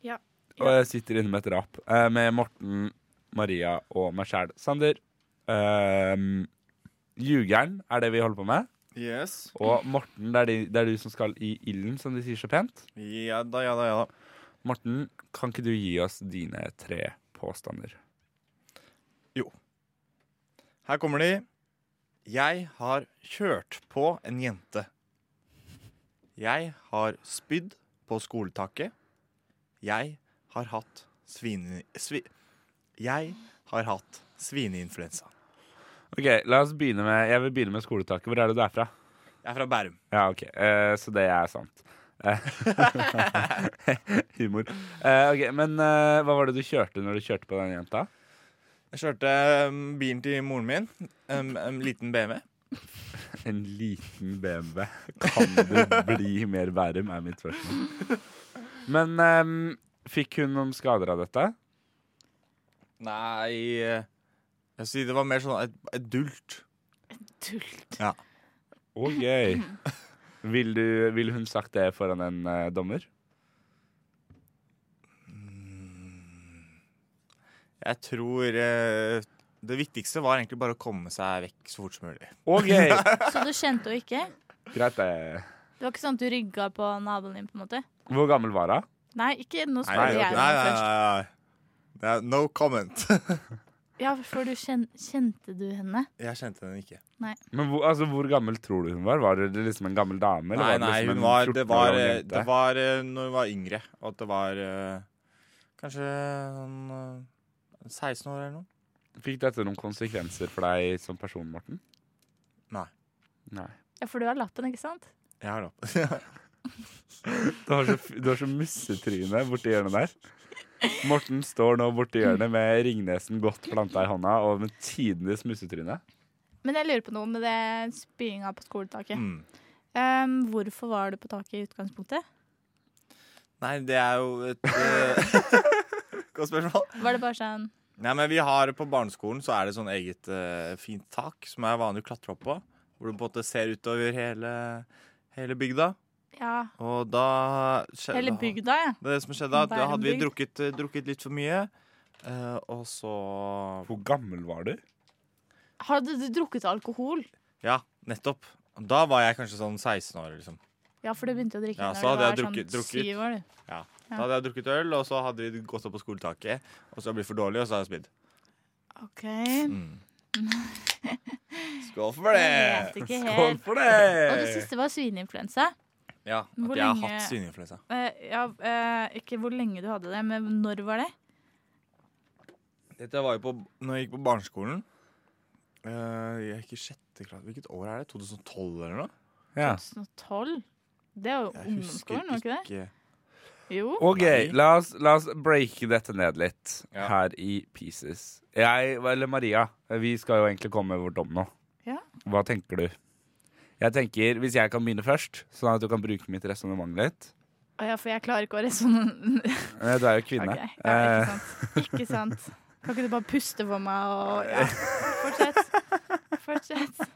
S4: Ja.
S3: Og jeg sitter inne med et rap eh, med Morten, Maria og meg sjæl. Sander. ehm, Ljugeren er det vi holder på med.
S5: Yes.
S3: Og Morten, det er, de, det er du som skal i ilden, som de sier så pent.
S5: Ja da, ja da, ja da.
S3: Morten, kan ikke du gi oss dine tre påstander?
S5: Her kommer de. Jeg har kjørt på en jente. Jeg har spydd på skoletaket. Jeg har hatt svine... Svi, jeg har hatt svineinfluensa.
S3: Ok, la oss begynne med Jeg vil begynne med skoletaket. Hvor er det du er fra?
S5: Jeg er fra Bærum.
S3: Ja, ok, eh, Så det er sant. Eh, Humor. Eh, ok, Men eh, hva var det du kjørte når du kjørte på den jenta?
S5: Jeg kjørte um, bilen til moren min. En, en liten BMW.
S3: En liten BMW. Kan du bli mer Bærum, er mitt spørsmål. Men eh, fikk hun noen skader av dette?
S5: Nei eh, Jeg sier det var mer sånn et, et dult.
S4: Dult.
S5: Ja.
S3: Ok. Vil, du, vil hun sagt det foran en eh, dommer?
S5: Jeg tror eh, det viktigste var egentlig bare å komme seg vekk så fort som mulig.
S4: Så du kjente henne ikke?
S3: Greit, det.
S4: Det var ikke sånn at du rygga på naboen din, på en måte?
S3: Hvor gammel var hun?
S4: Nei, ikke nå
S5: Nei,
S4: spør jeg
S5: nei,
S4: deg
S5: nei, nei,
S4: først.
S5: nei. Det er No comment.
S4: Ja, for du kjen kjente du henne?
S5: Jeg kjente henne ikke.
S4: Nei.
S3: Men hvor, altså, hvor gammel tror du hun var? Var det liksom en gammel dame?
S5: Nei,
S3: eller var
S5: nei,
S3: det liksom
S5: hun
S3: en
S5: var, det
S3: 14 år
S5: var,
S3: gammel
S5: eh,
S3: jente?
S5: det var eh, når hun var yngre, og at det var eh, kanskje sånn eh, 16 år eller noe.
S3: Fikk dette noen konsekvenser for deg som person, Morten?
S5: Nei.
S3: Nei.
S4: Ja, for du har lappen, ikke sant?
S5: Jeg har lappen.
S3: Du har så, f- du har så mussetryne borti hjørnet der. Morten står nå borti hjørnet med ringnesen godt planta i hånda og med tidenes mussetryne.
S4: Men jeg lurer på noe med det spyinga på skoletaket.
S3: Mm.
S4: Um, hvorfor var du på taket i utgangspunktet?
S5: Nei, det er jo et eh, Godt spørsmål.
S4: Var det bare sånn
S5: Nei, men vi har På barneskolen så er det sånn eget eh, fint tak som er vanlig å klatre opp på. Hvor du på en måte ser utover hele, hele bygda.
S4: Ja,
S5: Og da skje-
S4: hele
S5: da-
S4: bygda, ja.
S5: Det som skjedde, at da hadde vi
S4: Bærum bygd.
S5: drukket, eh, drukket litt for mye. eh, og så
S3: Hvor gammel var du?
S4: Hadde du drukket alkohol?
S5: Ja, nettopp. Da var jeg kanskje sånn 16 år, liksom.
S4: Ja, for du begynte å drikke
S5: Ja,
S4: når du
S5: så hadde jeg
S4: var
S5: drukket,
S4: sånn
S5: drukket.
S4: syv år, du.
S5: Ja.
S4: Ja.
S5: Da hadde jeg drukket øl, og så hadde vi gått opp på skoletaket. Og så har jeg blitt for dårlig, og så har jeg spydd. Mm.
S4: OK.
S5: Skål for det!
S4: Jeg vet ikke helt. Og du syns det var svineinfluensa?
S5: Ja, at
S4: Hvor
S5: jeg har
S4: lenge-
S5: hatt svineinfluensa.
S4: Eh, ja, eh, ikke hvor lenge du hadde det, men når var det?
S5: Dette var jo på Når jeg gikk på barneskolen eh, Jeg gikk i sjette klasse Hvilket år er det? 2012 eller noe?
S3: Ja.
S4: 2012? Det er jo ungdomsskolen, var det ikke det? Jo.
S3: OK, la oss, la oss breake dette ned litt her i Pieces. Jeg, eller Maria, vi skal jo egentlig komme med vår dom nå.
S4: Ja.
S3: Hva tenker du? Jeg tenker, Hvis jeg kan begynne først, sånn at du kan bruke mitt resonnement litt
S4: Å ja, for jeg klarer ikke å resonnere.
S3: Eh, Du er jo kvinne.
S4: Ok, ja,
S3: Eh,
S4: ikke sant. Kan ikke du bare puste for meg og ja. Fortsett. Fortsett.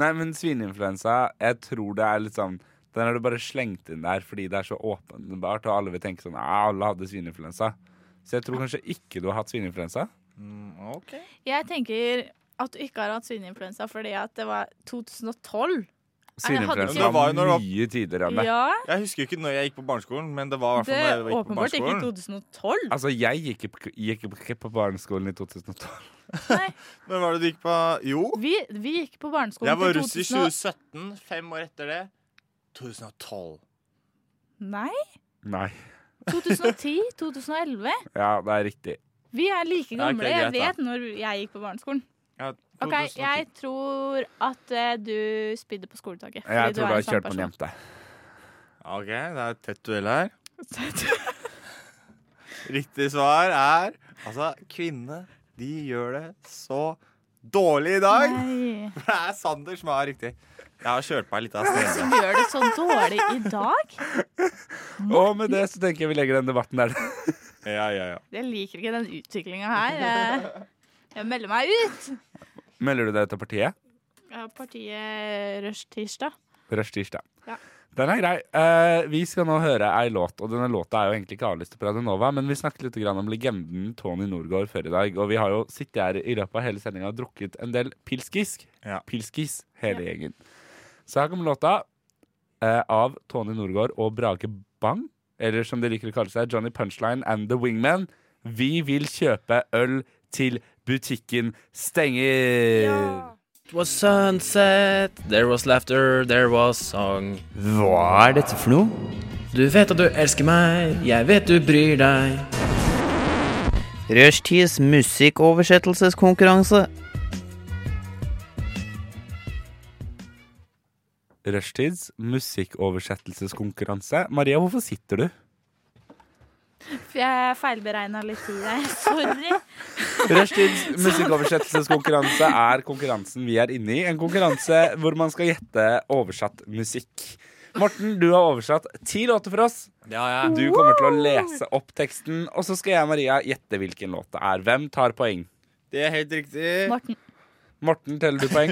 S3: Nei, men svineinfluensa, jeg tror det er litt sånn Den har du bare slengt inn der fordi det er så åpenbart, og alle vil tenke sånn Ja, alle hadde svineinfluensa. Så jeg tror kanskje ikke du har hatt svineinfluensa.
S5: Mm, ok.
S4: Jeg tenker at du ikke har hatt svineinfluensa fordi at det var 2012.
S3: Svineinfluensa
S5: Men det var jo når det
S3: var
S5: var-
S3: mye tidligere enn det.
S4: Ja,
S5: Jeg husker jo ikke når jeg gikk på barneskolen, men det var i hvert
S4: det
S5: fall når
S4: er
S5: jeg gikk på
S4: åpenbart ikke
S5: barneskolen.
S4: 2012.
S3: Altså, jeg gikk ikke på- gikk ikke på barneskolen i 2012.
S5: Men var det du gikk på Jo.
S4: Vi, vi gikk på barneskolen
S5: Jeg var
S4: til
S5: russ i
S4: 2000 og-
S5: 2017. Fem år etter det. 2012.
S4: Nei.
S3: Nei.
S4: 2010? 2011?
S3: Ja, det er riktig.
S4: Vi er like
S3: Ja, ok,
S4: gamle. Jeg
S3: greit da.
S4: vet når jeg gikk på barneskolen.
S5: Ja,
S4: OK, jeg tror at eh, du spydde på skoletaket. fordi
S3: Jeg tror du
S4: er
S3: har
S4: en sånn
S3: kjørt på en
S4: person.
S3: jente.
S5: OK, det er et tett duell her. Riktig svar er Altså, kvinnene, de gjør det så dårlig i dag. For det er Sander som har riktig. Jeg har kjørt på ei lita sneve.
S4: Som gjør det så dårlig i dag?
S3: Og med det så tenker jeg vi legger den debatten der.
S5: ja, ja, ja.
S4: Jeg liker ikke den utviklinga her. Eh, Jeg melder meg ut!
S3: Melder du deg til partiet?
S4: Ja, Partiet Rush Tirsdag.
S3: Rush tirsdag.
S4: Ja.
S3: Den er grei. Eh, vi skal nå høre ei låt, og denne låta er jo egentlig ikke avlyst på Radio Nova, men vi snakket litt grann om legenden Tony Norgård før i dag, og vi har jo sittet her i løpet av hele sendinga og drukket en del pilskisk. Pilskis, hele gjengen. Så her kommer låta eh, av Tony Norgård og Brage Bang, eller som de liker å kalle seg, Johnny Punchline and The Wingman. Vi vil kjøpe øl til butikken stenger.
S12: It was sunset, there was laughter, there was song. Hva er dette for noe? Du vet at du elsker meg, jeg vet du bryr deg.
S14: Rushtids musikkoversettelseskonkurranse.
S3: Rushtids musikkoversettelseskonkurranse. Maria, hvorfor sitter du?
S4: For jeg feilberegna litt tid her. Sorry.
S3: Rushtids musikkoversettelseskonkurranse er konkurransen vi er inne i. En konkurranse hvor man skal gjette oversatt musikk. Morten, du har oversatt ti låter for oss. Du kommer til å lese opp teksten, og så skal jeg og Maria gjette hvilken låt det er. Hvem tar poeng?
S5: Det er helt riktig.
S4: Morten.
S3: Morten, teller du poeng?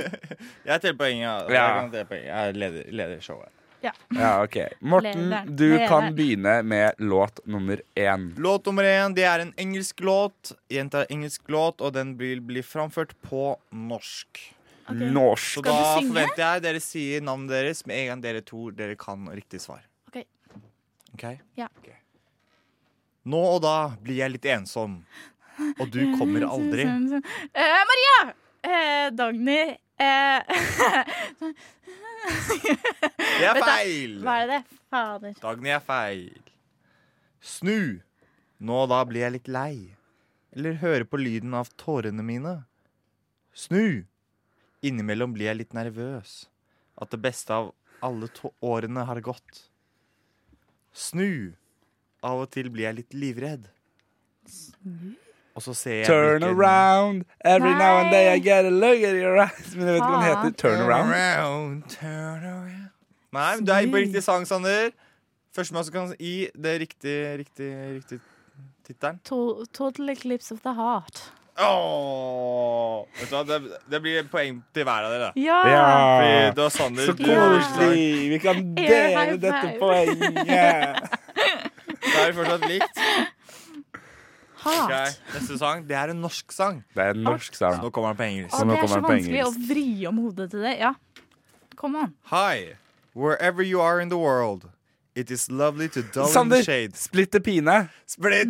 S5: Jeg teller poeng, ja. Jeg,
S3: Ja.
S5: kan telle poeng. jeg leder, leder showet.
S4: Ja.
S3: Ja, ok. Morten,
S5: Lederen.
S3: du kan
S5: Lederen.
S3: begynne med låt nummer én.
S5: Låt nummer én, det er en engelsk låt. Jenta er engelsk låt, og den vil bli framført på norsk.
S3: Ok. Norsk.
S5: Så
S3: Skal du
S5: da
S3: synge?
S5: forventer jeg dere sier navnet deres med en gang dere tror dere kan riktig svar.
S4: OK.
S5: Ok?
S4: Ja.
S5: Nå og da blir jeg litt ensom, og du kommer aldri.
S4: Eh, Maria! Eh, Dagny eh,
S5: Det
S4: Vet
S5: er
S4: du-
S5: feil!
S4: Hva er det? Fader.
S5: Dagny er feil. Snu. Nå og da blir jeg litt lei, Eller høre på lyden av tårene mine? Snu! Innimellom blir jeg litt nervøs. At det beste av alle tå- årene har gått. Snu! Av og til blir jeg litt livredd. Og så ser jeg
S3: Turn
S5: hvilken-
S3: around every now and day I get a look at your eyes. Men jeg vet ikke hva den
S5: Faen.
S3: heter. Turn around.
S5: Around, turn around. Nei, men du er på riktig sang, Sander. Førstemann som kan gi det riktige, riktig, riktig tittelen.
S4: To, total eclipse of the heart.
S5: Åh, Vet du hva, det, det blir poeng til hver av dere.
S4: Ja.
S3: Ja.
S5: Fordi det var Sander.
S3: Så koselig. Vi kan
S5: Air
S3: dele
S5: high
S3: dette
S5: five.
S3: poenget.
S5: Da er det fortsatt likt.
S4: Hat.
S5: Ok, Neste sang. Det er en norsk sang.
S3: Det er en norsk sang.
S5: Så nå kommer den på engelsk.
S4: Å, det er så vanskelig å vri om hodet til det. Ja. Kom an.
S5: Hi, wherever you are in the world. It is lovely to dull in
S3: Sander,
S5: the shade.
S3: splitter pine.
S5: Splitter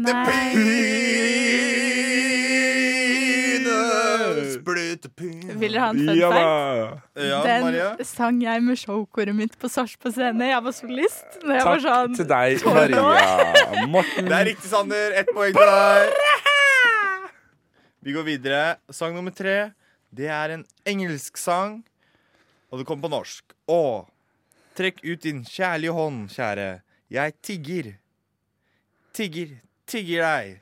S5: pine! Splitter pine.
S4: Vil dere ha en fun
S5: Ja,
S4: fact?
S5: da. Ja,
S4: Den
S5: Maria?
S4: sang jeg med showkoret mitt på Sarpsborg scene. Jeg var solist. Når jeg var
S3: Takk
S4: sånn
S3: til deg,
S4: 12 år.
S3: Maria. Morten.
S5: Det er riktig, Sander. Ett poeng til deg. Vi går videre. Sang nummer tre. Det er en engelsk sang, og det kommer på norsk. Å, trekk ut din kjærlige hånd, kjære. Jeg tigger. Tigger, tigger deg.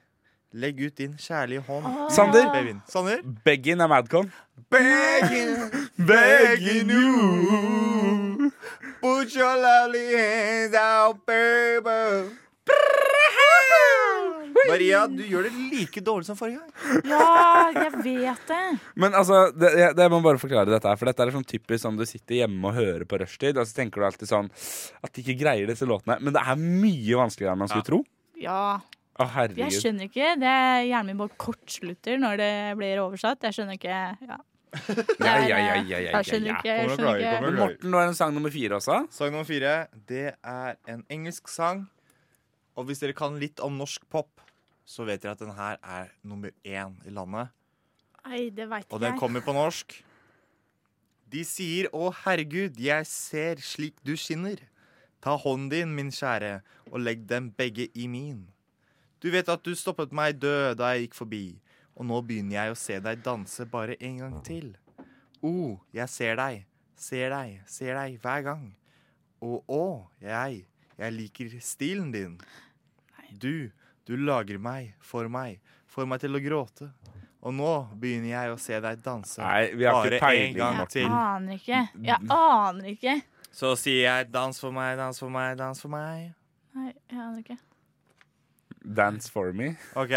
S5: Legg ut din kjærlige hånd.
S3: Sander.
S5: Bevin. Sander.
S3: Beggin er Madcon.
S5: Begging you, put your lovely hands out, baby. Maria, du gjør det like dårlig som forrige gang.
S4: Ja, jeg vet det.
S3: Men altså, det, jeg, det jeg må bare forklare dette her, for dette er sånn typisk sånn du sitter hjemme og hører på rushtid, og så tenker du alltid sånn at de ikke greier disse låtene. Men det er mye vanskeligere enn man skulle tro.
S4: Ja.
S3: Å,
S4: Jeg
S3: herregud.
S4: skjønner ikke. Det er hjernen min bare kortslutter når det blir oversatt. Jeg skjønner ikke
S3: Ja, ja,
S4: ja.
S3: ja, ja, ja, ja,
S4: Jeg skjønner ikke,
S3: ja.
S4: jeg Kommer og skjønner klager, ikke. kommer og
S3: Men
S4: klager.
S3: Morten, nå er det en sang nummer fire også.
S5: Sang nummer fire, det er en engelsk sang. Og hvis dere kan litt om norsk pop, så vet dere at den her er nummer én i landet.
S4: Nei, det veit ikke
S5: Og den
S4: jeg.
S5: kommer på norsk. De sier 'Å herregud, jeg ser slik du skinner'. Ta hånden din, min kjære, og legg dem begge i min. Du vet at du stoppet meg død da jeg gikk forbi, og nå begynner jeg å se deg danse bare en gang til. O, Oh, jeg ser deg, ser deg, ser deg hver gang. Og å, jeg, jeg liker stilen din. Du, du lager meg, for meg, får meg til å gråte. Og nå begynner jeg å se deg danse
S3: Nei, vi har ikke
S5: bare
S3: peiling,
S5: en gang
S3: Morten.
S5: til.
S4: Jeg aner ikke. Jeg aner ikke.
S5: Så sier jeg dans for meg, dans for meg, dans for meg.
S4: Nei, jeg aner ikke.
S3: Dance for me.
S5: Ok.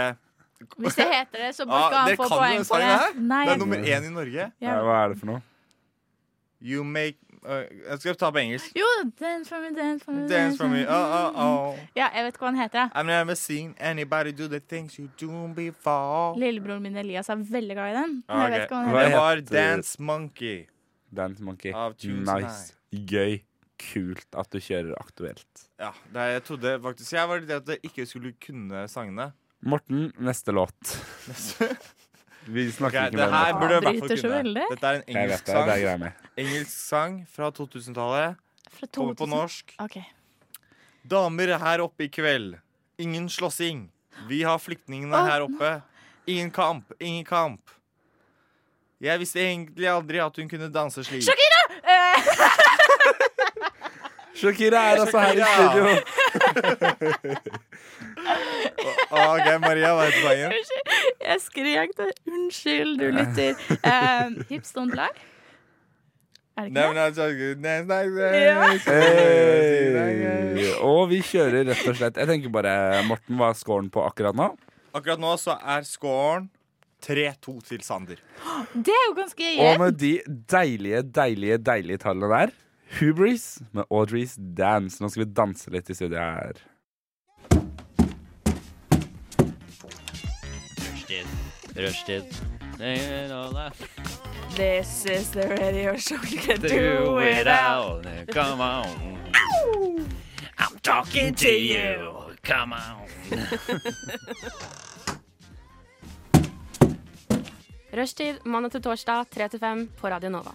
S4: Hvis det heter det, så bare skal han få poeng for det. Nei,
S5: Det
S4: jeg-
S5: er nummer én i Norge.
S4: Ja.
S3: Hva er det for noe?
S5: You make øh, Jeg skal ta på engelsk.
S4: Jo, dance for me, dance for me.
S5: Dance for
S4: sånn.
S5: me, oh, oh, oh.
S4: Ja, jeg vet ikke hva han heter. jeg.
S5: I've never seen anybody do the things you do before.
S4: Lillebroren min Elias er veldig glad i den. Men
S5: Ah,
S4: jeg vet ikke hva han
S5: Det
S4: heter.
S5: var
S3: heter-
S5: Dance Monkey.
S3: Dance Monkey.
S5: Av Tunes and
S3: Nice. Gøy. Kult at du kjører aktuelt.
S5: Ja, det er, jeg trodde faktisk Jeg var litt redd at jeg ikke skulle kunne sangene.
S3: Morten, neste låt. Vi
S5: Ok,
S3: snakker ikke
S5: det
S3: mer om
S5: her
S3: dette.
S5: burde jeg i hvert fall kunne. Dette er en
S3: Jeg vet det,
S5: engelsk
S3: det er
S5: sang.
S3: greia med.
S5: Engelsk sang fra 2000-tallet. Kommer på
S4: 2000.
S5: norsk.
S4: Ok.
S5: Damer her oppe i kveld. Ingen slåssing. Vi har flyktningene her oppe. Ingen kamp, ingen kamp. Jeg visste egentlig aldri at hun kunne danse slik.
S4: Shakira! Eh,
S3: Shakira er altså her i studio.
S5: Shakira! OK, Maria, hva er poenget?
S4: Unnskyld. Jeg skrek det. Unnskyld, du lytter. Eh, hips don't lie. Er det
S5: Nei,
S4: ikke
S5: men
S4: det?
S5: altså, nei, nei,
S4: Ja.
S3: Hey. Og vi kjører rett og slett Jeg tenker bare, Morten, hva er scoren på akkurat nå?
S5: Akkurat nå så er scoren 3-2 til Sander.
S4: Det er jo ganske
S3: Og
S4: jevnt.
S3: med de deilige, deilige, deilige tallene der Hubris med Audrey's Dance. Nå skal vi danse litt i studio her.
S6: Rushtid. Rushtid.
S9: This is the radio show you can
S6: Do it all. Come on. I'm talking to you. Come on.
S7: Rushtid mandag til torsdag 3 til 5 på Radio Nova.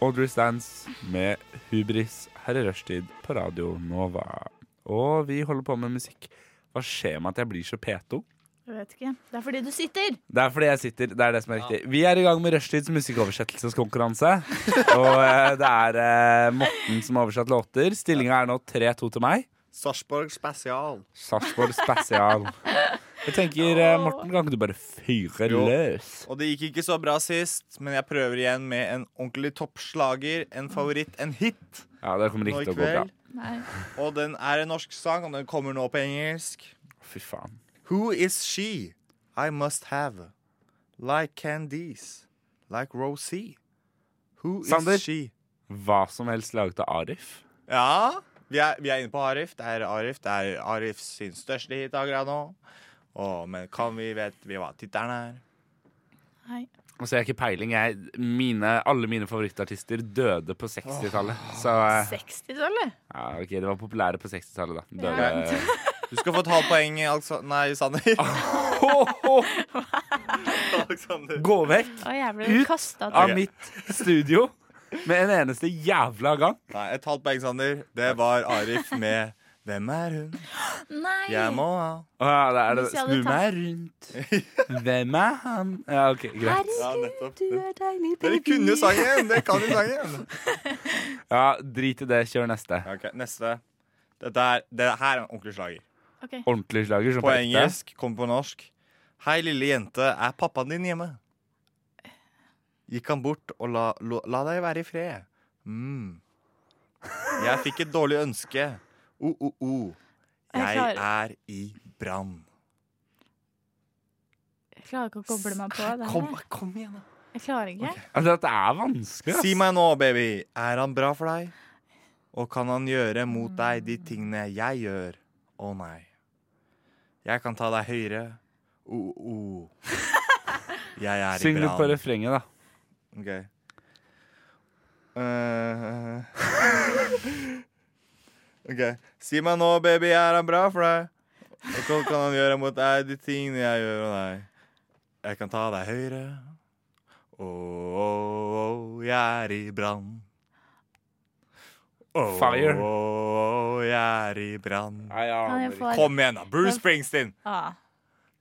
S3: Audrey Stans med Hubris her i rushtid på Radio Nova. Og vi holder på med musikk. Hva skjer med at jeg blir så peto?
S4: Jeg vet ikke. Det er fordi du sitter.
S3: Det er fordi jeg sitter. Det er det som er riktig. Vi er i gang med Rushtids musikkoversettelseskonkurranse. Og eh, det er eh, Morten som har oversatt låter. Stillinga er nå 3-2 til meg.
S5: Sarpsborg spesial.
S3: Sarpsborg Spesial. Jeg tenker, eh, Morten, kan ikke du bare fyre
S5: Jo.
S3: løs?
S5: Og det gikk ikke så bra sist, men jeg prøver igjen med en ordentlig toppslager, en favoritt, en hit.
S3: Ja, det kommer
S5: nå
S3: ikke
S5: i
S3: til å gå bra.
S5: kveld. Og den er en norsk sang, og den kommer nå på engelsk.
S3: Fy faen.
S5: Who is she I must have? Like Candice. Like Rosie. Who
S3: Sander?
S5: is she?
S3: Hva som helst laget av Arif.
S5: Ja, vi er, vi er inne på Arif. Det er Arif. Det er Arif sin største hit akkurat nå. Å, men kan vi vet vi hva tittelen er?
S3: Altså, jeg har ikke peiling. Jeg, mine, alle mine favorittartister døde på 60-tallet. Så eh,
S4: 60-tallet?
S3: ja, OK, de var populære på 60-tallet, da.
S5: Ja.
S3: Døde.
S5: Du skal få et halvt poeng, Aleksa- Nei, Sander. Alexander.
S3: Gå vekk!
S4: Å, jeg ble
S3: Ut
S4: kastet
S5: Ah,
S3: av
S4: til-
S3: mitt studio med en eneste jævla gang.
S5: Nei, et halvt poeng, Sander. Det var Arif med 'Hvem er hun?
S4: Nei.
S5: Jeg må ha'.
S3: Å ja, det er det.
S4: Hvis jeg hadde
S3: Snu meg
S4: tatt-
S3: rundt. Hvem er han? Ja, OK, greit.
S5: Ja, nettopp. Dere kunne jo sangen! Dere kan jo sangen.
S3: Ja, drit i det. Kjør neste.
S5: Ok, Neste. Dette er, det her er en ordentlig slager.
S4: Ok.
S3: Ordentlig slager. Som
S5: På
S3: ekte.
S5: engelsk, kom på norsk. Hei, lille jente, er pappaen din hjemme? Gikk han bort og la, la, la deg være i fred. Mm. Jeg fikk et dårlig ønske. O-o-o. Jeg
S4: Jeg
S5: er i brann.
S4: Jeg klarer ikke å koble meg på det her.
S5: Kom- igjen,
S4: da. Jeg klarer ikke.
S3: Altså, dette er vanskelig.
S5: Si meg nå, baby, er han bra for deg? Og kan han gjøre mot deg de tingene jeg gjør? Å nei. Jeg kan ta deg høyere. O-o. Jeg er
S3: Syng
S5: i
S3: litt på
S5: brann.
S3: refrenget, da.
S5: Ok. Eh, ok. Si meg nå, baby, er han bra for deg? Og hva kan han gjøre mot deg, de tingene jeg gjør og deg? Jeg kan ta deg høyre. Å, å, å, jeg er i brann. Å,
S3: Fire.
S5: Å, å, jeg er i brann.
S4: aner jeg får- ikke.
S5: Kom igjen, da. Bruce Springsteen.
S4: Ah.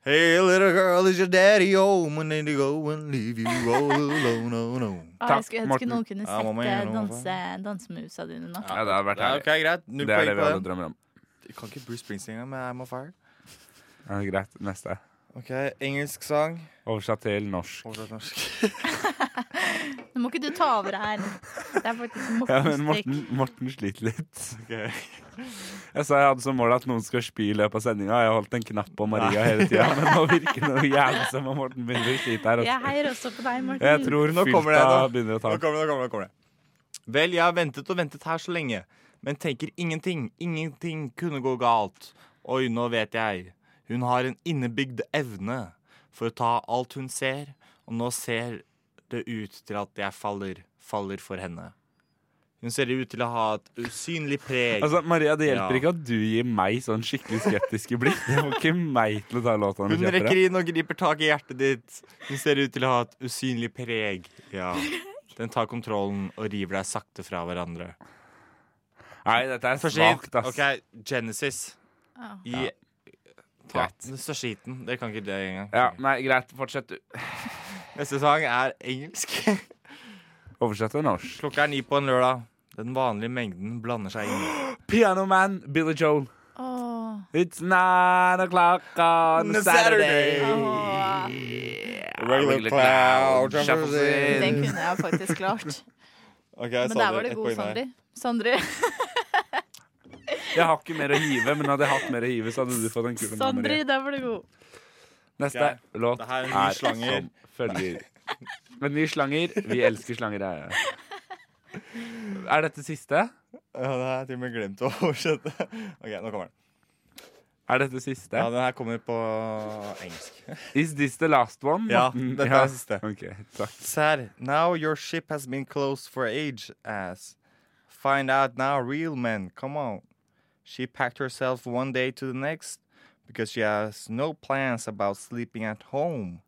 S5: Hey, little girl, is your daddy home? And then you go and leave you all alone, Oh, no, no.
S4: Ah, jeg skulle ønske noen kunne
S5: Ja, mamma,
S4: sette
S5: gjør noe for-
S4: danse, dansemusa dine nå.
S3: Ja, det hadde vært
S5: Ja,
S3: herlig.
S5: ok, greit. Null
S3: det
S5: poeng
S3: er det
S5: på
S3: vi alle
S5: den.
S3: drømmer om.
S5: Jeg kan ikke Bruce Springsteen engang, men I'm on fire.
S3: Ja, greit. Neste.
S5: Ok, engelsk sang.
S3: Oversatt til norsk.
S5: Oversatt norsk.
S4: Nå må ikke du ta over her. Det er faktisk
S3: Ja, men Morten,
S4: Mortens drikk.
S3: Morten sliter litt. Jeg sa jeg hadde som mål at noen skal spy i løpet av sendinga. Jeg har holdt en knapp på Maria
S5: Nei.
S3: hele tida, men nå virker det noe jævlig som om Morten begynner å slite her.
S4: Jeg
S3: Altså.
S4: heier også på deg, Morten.
S3: Jeg tror
S5: Nå kommer det,
S3: fylta
S5: nå.
S3: begynner å ta
S5: Nå kommer det, nå kommer det, nå kommer det. Vel, jeg har ventet og ventet her så lenge, men tenker ingenting. Ingenting kunne gå galt. Oi, nå vet jeg. Hun har en innebygd evne for å ta alt hun ser, og nå ser det ut til at jeg faller, faller for henne. Hun ser ut til å ha et usynlig preg.
S3: Altså, Maria, det hjelper
S5: Ja.
S3: ikke at du gir meg sånn skikkelig skeptiske blikk. Det får ikke meg til å ta låta når
S5: Hun
S3: du kjøper
S5: rekker
S3: det.
S5: inn og griper tak i hjertet ditt. Hun ser ut til å ha et usynlig preg. Ja. Den tar kontrollen og river deg sakte fra hverandre.
S3: Nei, dette er
S5: Første hit.
S3: svakt, ass.
S5: OK, Genesis.
S4: Ja.
S5: I, ta, den største hiten. Dere kan ikke det engang.
S3: Ja, nei, greit. Fortsett, du.
S5: Neste sang er engelsk.
S3: Oversett til norsk.
S5: Klokka er ni på en lørdag. Den vanlige mengden blander seg inn.
S3: Pianoman, Billy Joel.
S4: Åh.
S3: It's nine o'clock on a Saturday.
S5: Regular
S3: Regular
S5: cloud
S3: cloud
S5: shuffles
S3: shuffles in.
S4: Den kunne jeg faktisk klart.
S5: Ok,
S4: Men der var det god Sandri. Sandri.
S3: Jeg har ikke mer å hive, men hadde jeg hatt mer å hive, så hadde du fått en kul en,
S4: Sandri,
S3: Marie.
S4: der var det god.
S3: Neste
S5: Ok,
S3: låt
S5: det
S3: er,
S5: her er en ny slanger.
S3: som følger. En ny slanger. Vi elsker slanger. ja, ja. Er dette siste?
S5: Ja, det har jeg til og med glemt å oversette. OK, nå kommer den.
S3: Er dette siste?
S5: Ja, den her kommer på engelsk.
S3: Is this the last one?
S5: Ja,
S3: Morten?
S5: dette
S3: Ja,
S5: er siste.
S3: ok, takk.
S5: Sad. Now your ship has been closed for age, ass. Find out now, real men. Come on. She packed herself one day to the next because she has no plans about sleeping at home.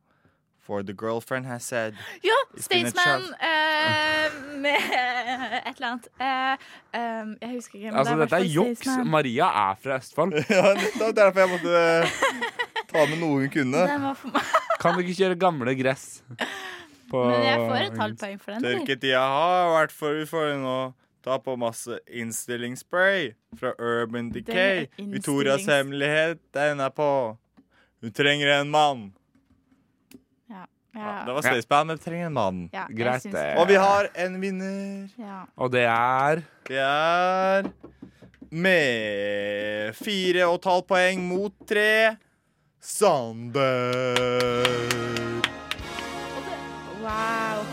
S5: For the girlfriend has said
S4: Ja,
S5: It's been a
S4: Statesman eh, med et eller annet. Eh, eh, jeg husker ikke. men
S3: Altså,
S4: det
S3: dette er
S4: hvertfall
S3: juks.
S4: Statesman.
S3: Maria er fra Østfold.
S5: Ja, nettopp. Derfor jeg måtte eh, ta med noe hun kunne.
S4: Den var for meg.
S3: Kan du ikke kjøre gamle gress? På
S4: Men jeg får et halvt poeng for den. eller?
S5: Tørketida har vært forut for nå. Ta på masse innstillingsspray fra Urban Decay.
S4: innstillings-
S5: Victorias hemmelighet, den er på. Hun trenger en mann.
S4: Ja. Ja.
S5: Det var Stayspan, men trenger en mann.
S4: Ja, jeg Greit,
S3: eh.
S4: syns det. det.
S5: Og vi har en vinner.
S4: Ja.
S3: Og det er
S5: Det er med fire og et halvt poeng mot tre Sander.
S4: Wow.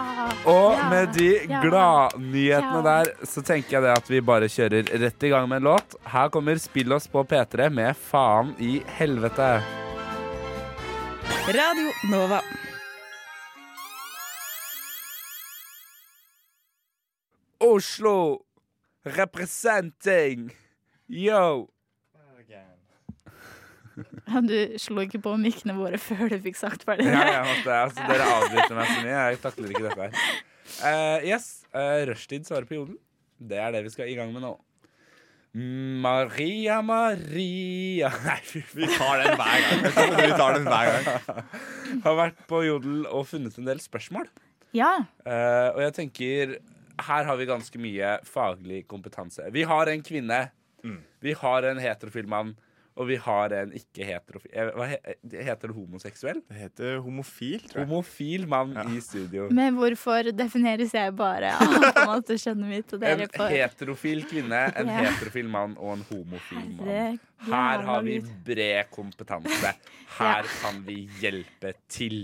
S4: Ah,
S3: Og
S4: ja,
S3: med de
S4: ja,
S3: gladnyhetene
S4: ja.
S3: der, så tenker jeg det at vi bare kjører rett i gang med en låt. Her kommer Spill oss på P3 med Faen i helvete.
S14: Radio Nova.
S3: Oslo representing. Yo.
S4: Ja, Du slo ikke på mikkene våre før du fikk sagt ferdig.
S3: Ja, jeg måtte, altså, dere avbryter meg så mye. Jeg takler ikke dette her. Eh, yes, eh, rushtid svarer på joden. Det er det vi skal i gang med nå. Maria, Maria Nei, fy faen.
S5: Vi tar den hver gang. Jeg tror vi tar den hver
S3: Har vært på Jodel og funnet en del spørsmål.
S4: Ja.
S3: Eh, og jeg tenker Her har vi ganske mye faglig kompetanse. Vi har en kvinne. Vi har en heterofil mann. Og vi har en ikke-heterofil eh, Hva he, Heter det homoseksuell?
S5: Det heter homofil,
S3: tror jeg. Homofil mann i studio.
S4: Men hvorfor defineres jeg bare av på en måte skjønner mitt, og
S3: En
S4: dere får
S3: heterofil kvinne, en
S4: Ja.
S3: heterofil mann og en homofil mann.
S4: Herregud.
S3: Her har vi bred kompetanse. Her kan vi hjelpe til.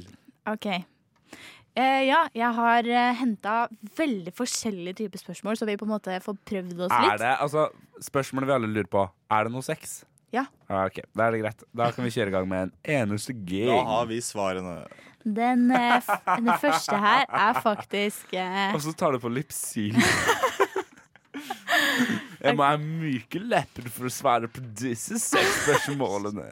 S4: OK. Eh, ja, jeg har uh, henta veldig forskjellige typer spørsmål, så vi på en måte får prøvd oss
S3: Er
S4: litt.
S3: det, altså, spørsmålet vi alle lurer på, er det noe sex?
S4: Ja.
S3: Ja, ok, Da er det greit. Da kan vi kjøre i gang med en eneste gang.
S5: Da har vi svarene.
S4: Den, eh, f den første her er faktisk eh,
S3: Og så tar du på Lypsyl. Jeg må ha myke lepper for å svare på disse seks spørsmålene.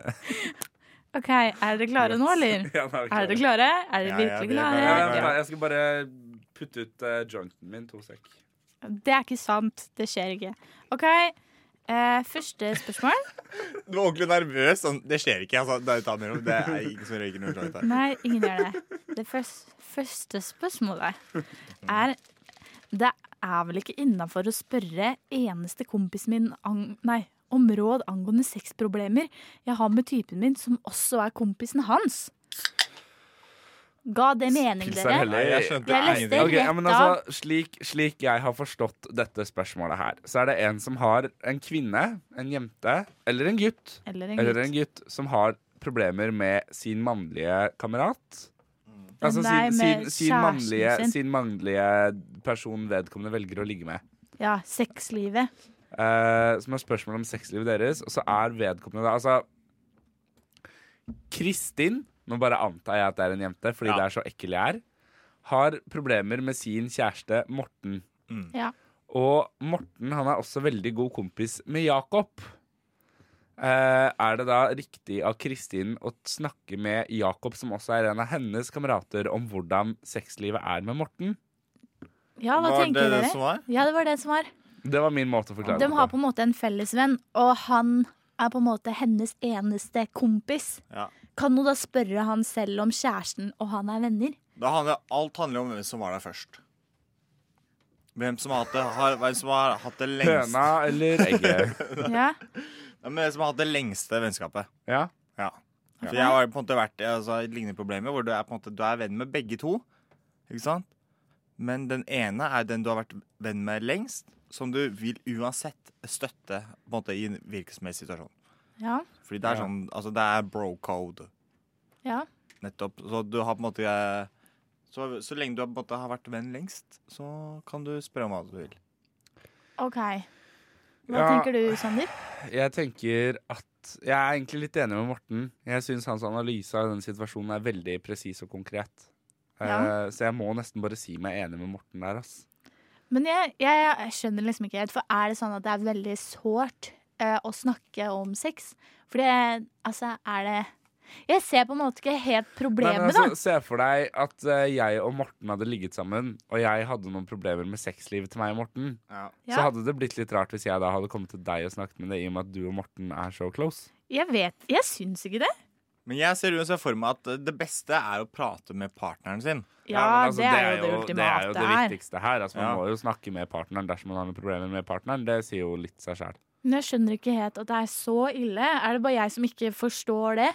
S4: OK, er dere klare nå, eller?
S3: Ja, nå er vi
S4: Er dere klare? Er dere virkelig klare?
S3: Jeg skal bare putte ut uh, jointen min. To sek.
S4: Det er ikke sant. Det skjer ikke. OK, eh, første spørsmål.
S5: Du var ordentlig nervøs. Sånn, det skjer ikke. Altså, det, er uten mellom. det er ingen som røyker noe joint her.
S4: Nei, ingen gjør det. Det førs- første spørsmålet er Det er vel ikke innafor å spørre eneste kompisen min ang, nei, om råd angående sexproblemer jeg har med typen min, som også er kompisen hans? Ga det mening,
S3: Pils
S4: dere?
S3: er hellig.
S4: Jeg leste
S3: Ok, ja, men
S4: rett av.
S3: altså, slik, slik jeg har forstått dette spørsmålet her, så er det en som har en kvinne, en jente, eller en gutt,
S4: Eller en gutt.
S3: gutt som har problemer med sin mannlige kamerat. Altså
S4: Mm. Nei,
S3: sin, sin,
S4: med
S3: sin,
S4: kjæresten
S3: mannlige,
S4: sin.
S3: sin mannlige person vedkommende velger å ligge med.
S4: Ja, sexlivet.
S3: Eh, som har spørsmål om sexlivet deres, og så er vedkommende da Altså Kristin Nå bare antar jeg at det er en jente, fordi det er så ekkel jeg er. Har problemer med sin kjæreste Morten.
S4: Ja.
S3: Og Morten han er også veldig god kompis med Jakob. Eh, er det da riktig av Kristin å snakke med Jakob, som også er en av hennes kamerater, om hvordan sexlivet er med Morten?
S4: ja, hva
S3: Var
S4: tenker
S3: det det
S4: dere?
S3: som var?
S4: Ja, det var det som var.
S3: Det var min måte å forklare
S4: De har på en måte en fellesvenn, og han er på en måte hennes eneste kompis.
S5: Ja.
S4: Kan hun da spørre han selv om kjæresten og han er venner?
S5: Da handler, alt handler om hvem som var der først. Hvem som har hatt det, har, hvem som har hatt det lengst.
S3: Høna eller egget?
S4: Ja.
S5: Nei, men Hvem som har hatt det lengste vennskapet.
S3: Ja.
S5: For jeg har på en måte vært i altså, et lignende problem hvor du er, på en måte, du er venn med begge to. Ikke sant? Men den ene er den du har vært venn med lengst, som du vil uansett støtte på en måte, i en hvilken som helst situasjon.
S4: Ja.
S5: Fordi det er
S4: Ja.
S5: sånn, altså det er bro code.
S4: Ja.
S5: Nettopp. Så du har på en måte eh, så, så lenge du har, på en måte, har vært venn lengst, så kan du spørre om hva du vil.
S4: OK. Hva
S3: Ja.
S4: tenker du, Sander?
S3: Jeg tenker at Jeg er egentlig litt enig med Morten. Jeg syns hans analyse av den situasjonen er veldig presis og konkret.
S4: Ja.
S3: Eh, så jeg må nesten bare si meg enig med Morten der, ass.
S4: Men jeg, jeg, jeg skjønner liksom ikke helt, for er det sånn at det er veldig sårt eh, å snakke om sex. For det altså, er det Jeg ser på en måte ikke helt
S3: Nei, men
S4: problemet,
S3: altså, se for deg at eh, jeg og Morten hadde ligget sammen, og jeg hadde noen problemer med sexlivet til meg og Morten. Så
S4: Ja.
S3: hadde det blitt litt rart hvis jeg da hadde kommet til deg og snakket med deg, i og med at du og Morten er så close.
S4: da. Jeg vet Jeg syns ikke det.
S5: Men jeg ser uansett for meg at eh, det beste er å prate med partneren sin.
S4: Ja, Ja, men altså, det er det er jo det jo- ultimate
S3: Det er jo det
S4: her.
S3: viktigste her. Altså, man
S5: Ja.
S3: må jo snakke med partneren dersom man har noen problemer med partneren. Det sier jo litt seg sjæl.
S4: Men jeg skjønner ikke helt at det er så ille. Er det bare jeg som ikke forstår det?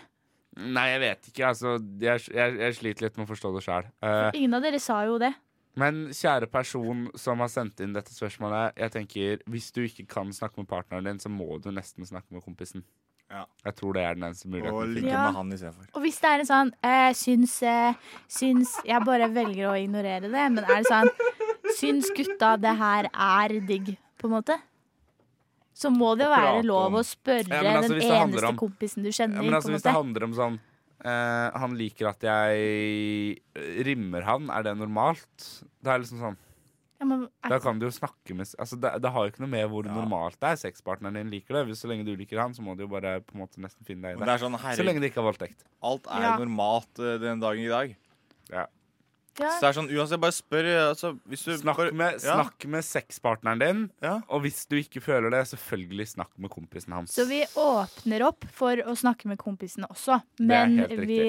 S3: Nei, jeg vet ikke. Altså, jeg, jeg, jeg sliter litt med å forstå det sjæl.
S4: Ingen av dere sa jo det.
S3: Men kjære person som har sendt inn dette spørsmålet, jeg tenker hvis du ikke kan snakke med partneren din, så må du nesten snakke med kompisen. Jeg tror det er den eneste muligheten.
S5: Og
S3: du
S5: ligge
S3: finner.
S4: med Ja. han
S5: istedenfor.
S4: Og hvis det er en sånn eh, syns, eh, syns Jeg bare velger å ignorere det, men er det sånn Syns gutta det her er digg, på en måte? Så må det jo
S3: Å prate
S4: være lov å
S3: om.
S4: spørre
S3: Ja, men altså, hvis
S4: den
S3: det handler
S4: eneste
S3: om-
S4: kompisen du kjenner.
S3: Ja, men altså,
S4: på en
S3: hvis det
S4: måte.
S3: handler om sånn eh, Han liker at jeg eh, rimmer han, er det normalt? Det er liksom sånn
S4: Ja, men, er,
S3: Da kan du jo snakke med altså, det, det har jo ikke noe med hvor normalt det er. Sexpartneren din liker det. Hvis så lenge du liker han, så må du jo bare på en måte nesten finne deg i
S5: Men
S3: det.
S5: det er sånn, herregud.
S3: så lenge det ikke er voldtekt.
S5: Alt er
S3: Ja.
S5: jo normalt eh, den dagen i dag.
S4: Ja.
S5: Så det er sånn, uansett, bare spør eh, altså, hvis du
S3: Snakk
S5: bare,
S3: med,
S5: Ja.
S3: snakk med sexpartneren din, og hvis du ikke føler det, selvfølgelig snakk med kompisen hans.
S4: så vi åpner opp for å snakke med kompisene også,
S3: er
S4: men
S3: helt riktig.
S4: vi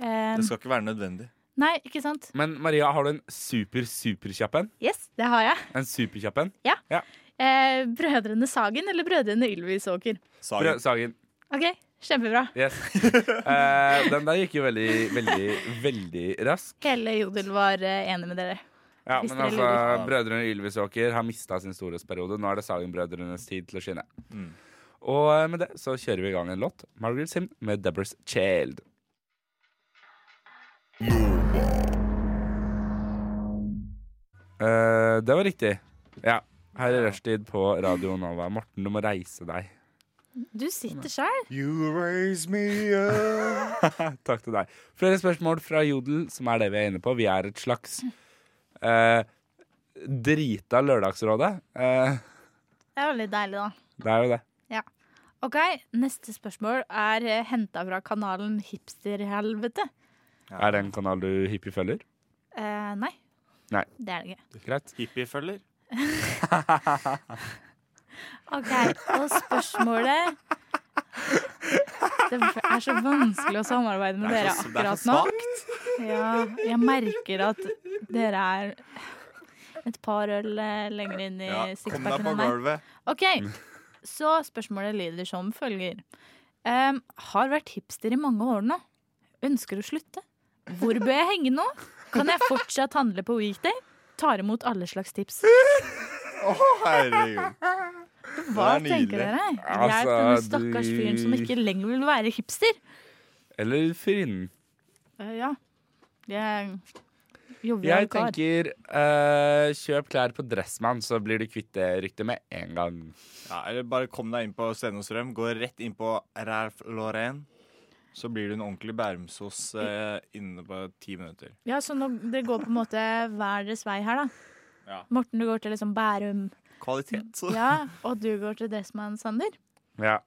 S4: eh,
S5: Det skal ikke være nødvendig.
S4: Nei, ikke sant?
S3: Men Maria, har du en super, superkjapp en?
S4: Yes, det har jeg.
S3: En superkjapp en?
S4: Ja.
S3: Ja.
S4: Eh, brødrene Sagen eller Brødrene Ylvisåker?
S3: Sagen. Sagen.
S4: OK, kjempebra.
S3: Yes. Eh, den der gikk jo veldig, veldig, veldig raskt.
S4: Hele Jodel var eh, enig med dere.
S3: Ja,
S4: Hvis
S3: men
S4: dere
S3: altså,
S4: lurer.
S3: Brødrene Ylvisåker har mista sin storhetsperiode. Nå er det Sagen-brødrenes tid til å skinne. Og eh, med det så kjører vi i gang en låt. Margaret Sim med Deborah's Child. Eh, det var riktig. Ja. Her er rushtid på Radio Nova. Morten, du må reise deg.
S4: Du sitter sjæl.
S3: You raise me up. Takk til deg. Flere spørsmål fra Jodel, som er det vi er inne på. Vi er et slags eh, drita Lørdagsrådet. Eh,
S4: Det er veldig deilig, da.
S3: det er jo det.
S4: Ja. OK, neste spørsmål er eh, henta fra kanalen Hipsterhelvete.
S3: Er det en kanal du hippie følger?
S4: Eh, nei,
S3: Nei.
S4: det er det ikke.
S3: Greit. Hippie følger?
S4: OK, og spørsmålet Det er så vanskelig å samarbeide med
S5: Det er
S4: dere
S5: så- det er
S4: akkurat
S5: så
S4: nå. Ja, jeg merker at dere er et par øl eh, lenger inn i
S5: Ja, kom deg
S4: sixpacken
S5: på
S4: enn meg.
S5: gulvet.
S4: OK, så spørsmålet lyder som følger. Em, har vært hipster i mange år nå. Ønsker å slutte. Hvor bør jeg henge nå? Kan jeg fortsatt handle på weekday? Tar imot alle slags tips.
S5: Å, herregud.
S4: Hva
S3: Det er nydelig.
S4: tenker dere? Hjelp
S3: Altså,
S4: denne stakkars fyren som
S3: du-
S4: ikke lenger vil være hipster.
S3: Eller Fyrinnen?
S4: Eh, ja. Jeg jovial
S3: Jeg
S4: kar.
S3: tenker eh, kjøp klær på Dressmann, så blir du kvitt det ryktet med en gang.
S5: Ja, eller bare kom deg inn på Stenåsrøm. Gå rett inn på Ralph Lauren. Så blir du en ordentlig bærumsos eh, inne på ti minutter.
S4: Ja, så nå, det går på en måte hver deres vei her, da.
S5: Ja.
S4: Morten, du går til liksom Bærum.
S5: Kvalitet.
S4: Ja, og du går til Dressmann Sander.
S3: Ja.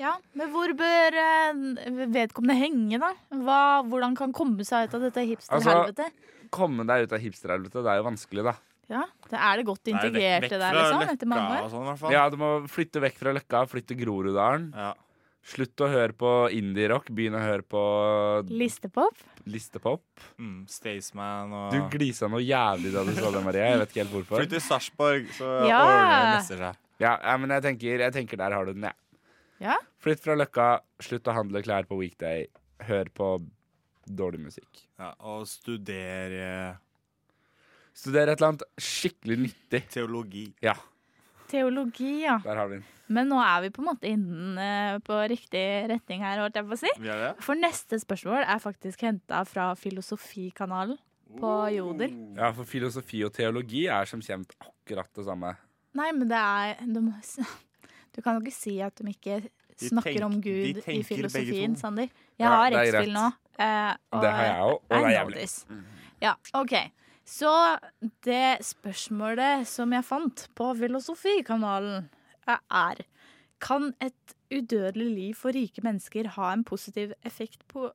S4: Ja, men hvor bør eh, vedkommende henge, da? Hva, hvordan kan komme seg ut av dette
S3: Altså,
S4: hipsterhelvete?
S3: Komme deg ut av hipsterhelvete, det er jo vanskelig, da.
S4: ja, det er det godt
S3: Nei, vekk-
S4: integrerte
S3: vekk
S4: der,
S3: fra altså.
S4: liksom, etter mange år.
S5: sånn,
S3: Ja, du må flytte vekk fra Løkka, flytte Groruddalen. Slutt å høre på indie-rock, begynn å høre på
S4: Listepop.
S3: listepop.
S5: Mm, Staysman og
S3: Du glisa noe jævlig da du så det, Marie. Jeg vet ikke helt hvorfor.
S5: Flytt til Sarpsborg, så
S4: Ja.
S5: ordner det seg.
S3: Ja, ja, men jeg tenker, jeg tenker der har du den, jeg.
S4: Ja.
S3: Flytt fra Løkka, slutt å handle klær på weekday, hør på dårlig musikk.
S5: Ja, og studer eh,
S3: Studer et eller annet skikkelig nyttig.
S5: Teologi.
S3: Ja,
S4: Teologi, ja.
S3: der har vi den.
S4: Men nå er vi på en måte innen eh, på riktig retning her, holdt jeg på å si.
S3: Vi er det.
S4: For neste spørsmål er faktisk henta fra Filosofikanalen på Joder.
S3: Ja, for filosofi og teologi er som kjent akkurat det samme.
S4: Nei, men det er de, må s- Du kan jo ikke si at de ikke
S3: De
S4: snakker
S3: tenk-
S4: om
S3: de
S4: Gud i
S3: tenker begge
S4: filosofien,
S3: to.
S4: Sander. Jeg
S3: Ja,
S4: har
S3: det er
S4: rettsfil
S3: greit.
S4: nå. eh, og
S3: Det har jeg òg, og det er
S4: I know
S3: jævlig.
S4: this. Ja, OK. Så det spørsmålet som jeg fant på Filosofikanalen, eh, er Kan et udødelig liv for rike mennesker ha en positiv effekt på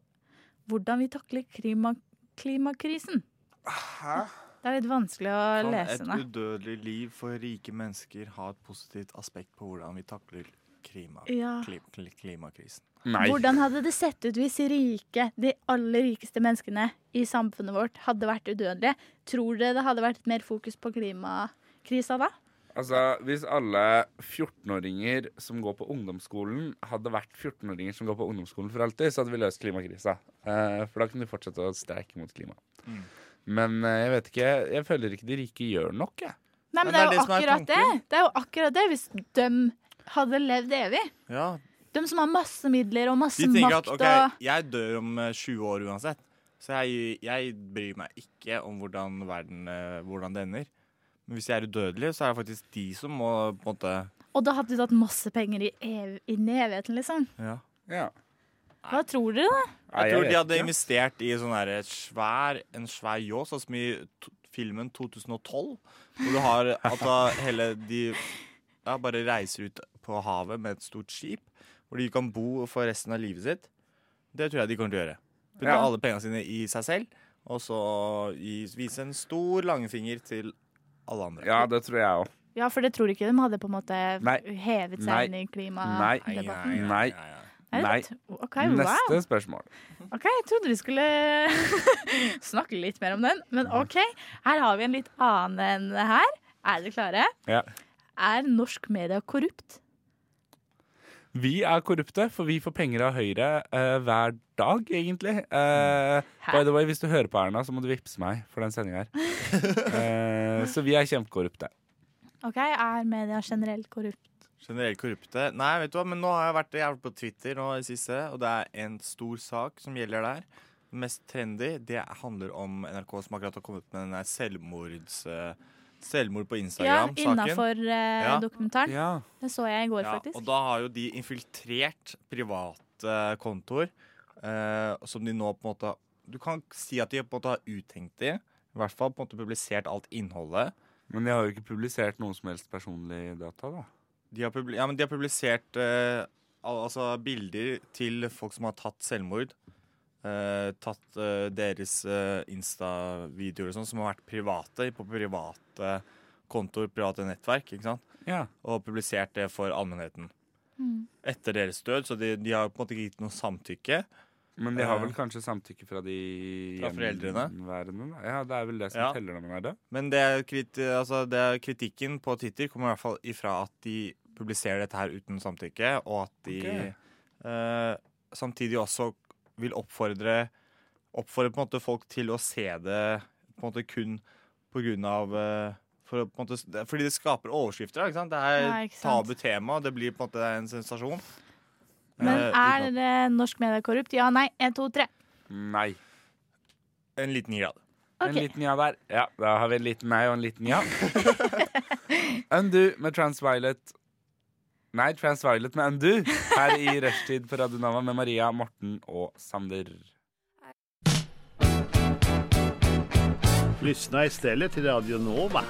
S4: hvordan vi takler klima klimakrisen?
S5: Hæ?
S4: Det er litt vanskelig å
S5: Kan
S4: lese
S5: Sånn, et
S4: ned.
S5: udødelig liv for rike mennesker ha et positivt aspekt på hvordan vi takler klima,
S4: Ja.
S5: kli- kli- klimakrisen?
S4: Hvordan hadde det sett ut hvis rike, de aller rikeste menneskene i samfunnet vårt hadde vært udødelige? Tror dere det hadde vært mer fokus på klimakrisa da?
S3: Altså, Hvis alle 14-åringer som går på ungdomsskolen, hadde vært 14-åringer som går på ungdomsskolen for alltid, så hadde vi løst klimakrisa. Eh, for da kunne vi fortsette å streike mot klima.
S5: Mm.
S3: Men eh, jeg vet ikke, jeg føler ikke de rike gjør nok, jeg.
S4: Nei, men det er jo akkurat det. Det er jo akkurat det hvis de hadde levd evig.
S5: Ja,
S4: De som har masse midler og masse
S5: De tenker
S4: makt
S5: at ok,
S4: og
S5: jeg dør om eh, 20 år uansett, så jeg, jeg bryr meg ikke om hvordan verden eh, hvordan det ender. Men hvis jeg er udødelig, så er det faktisk de som må på en måte
S4: Og da hadde du hatt masse penger i ev inn i evigheten, liksom.
S5: Ja.
S4: Hva tror dere, da?
S5: Jeg tror de hadde investert i sånn der et svær, en svær ljå, sånn som i to filmen 2012. Hvor du har at da hele de ja, bare reiser ut på havet med et stort skip. Hvor de kan bo for resten av livet sitt. Det tror jeg de kommer til å gjøre. Putte
S3: Ja.
S5: alle pengene sine i seg selv, og så gi, vise en stor langfinger til alle andre.
S3: Ja, det tror jeg òg.
S4: Ja, for det tror ikke de hadde på en måte
S3: Nei.
S4: hevet seg
S3: Nei.
S4: inn i
S3: Nei.
S4: klimadebatten.
S3: Nei.
S4: Er det
S3: Nei.
S4: t- ok, wow.
S3: Neste spørsmål.
S4: OK, jeg trodde vi skulle snakke litt mer om den, men OK. Her har vi en litt annen enn her. Er dere klare?
S3: Ja.
S4: Er norsk media korrupt?
S3: Vi er korrupte, for vi får penger av Høyre eh, hver dag, egentlig. Eh, by the way, hvis du hører på Erna, så må du vippse meg for den sendinga her. Eh, så vi er kjempekorrupte.
S4: OK, er media generelt korrupt?
S5: Generelt korrupte. Nei, vet du hva, men nå har jeg vært jeg har vært på Twitter nå i det siste, og det er en stor sak som gjelder der. Det mest trendy, det handler om NRK som akkurat har kommet med den der selvmords... eh, Selvmord på
S4: Ja,
S5: Instagram-saken.
S4: innafor eh,
S5: Ja.
S4: dokumentaren.
S5: Ja.
S4: Det så jeg i går,
S5: Ja,
S4: faktisk.
S5: Og da har jo de infiltrert private kontoer, eh, som de nå på en måte Du kan si at de på en måte har uttenkt de. I hvert fall på en måte publisert alt innholdet.
S3: Men de har jo ikke publisert noen som helst personlig data, da.
S5: De har, publi ja, men de har publisert eh, al altså bilder til folk som har tatt selvmord. Eh, tatt eh, deres eh, Insta-videoer og sånn, som har vært private på private kontoer, private nettverk. ikke sant?
S3: Ja.
S5: Og publisert det for allmennheten.
S3: Mm.
S5: Etter deres død, så de, de har på en måte ikke gitt noe samtykke.
S3: Men de har vel
S5: Eh,
S3: kanskje samtykke fra de
S5: Fra foreldrene?
S3: gjenværende, da? Ja, det er vel det som
S5: Ja.
S3: teller når man er død.
S5: Men det, er kriti altså det er kritikken på Twitter kommer i hvert fall ifra at de publiserer dette her uten samtykke, og at de eh, samtidig også vil oppfordre, oppfordre på en måte folk til å se det på en måte kun på grunn av eh, for, å på en måte, s- det- fordi det skaper overskrifter. da, Ikke sant? Det er
S4: Ja, ikke sant.
S5: tabu tema, og det blir på en måte det er en sensasjon.
S4: Men
S5: Eh,
S4: er
S5: uten at-
S4: eh, norsk media korrupt? Ja, nei. Én, to, tre.
S3: Nei.
S5: En liten ja.
S3: En liten ja der. Ja, da har vi en liten nei og en liten ja. Undo med Transviolet. Nei, Transviolet med Undo her i Rushtid på Radio Nova med Maria, Morten og Sander.
S14: Lyssna istället till Radio Nova.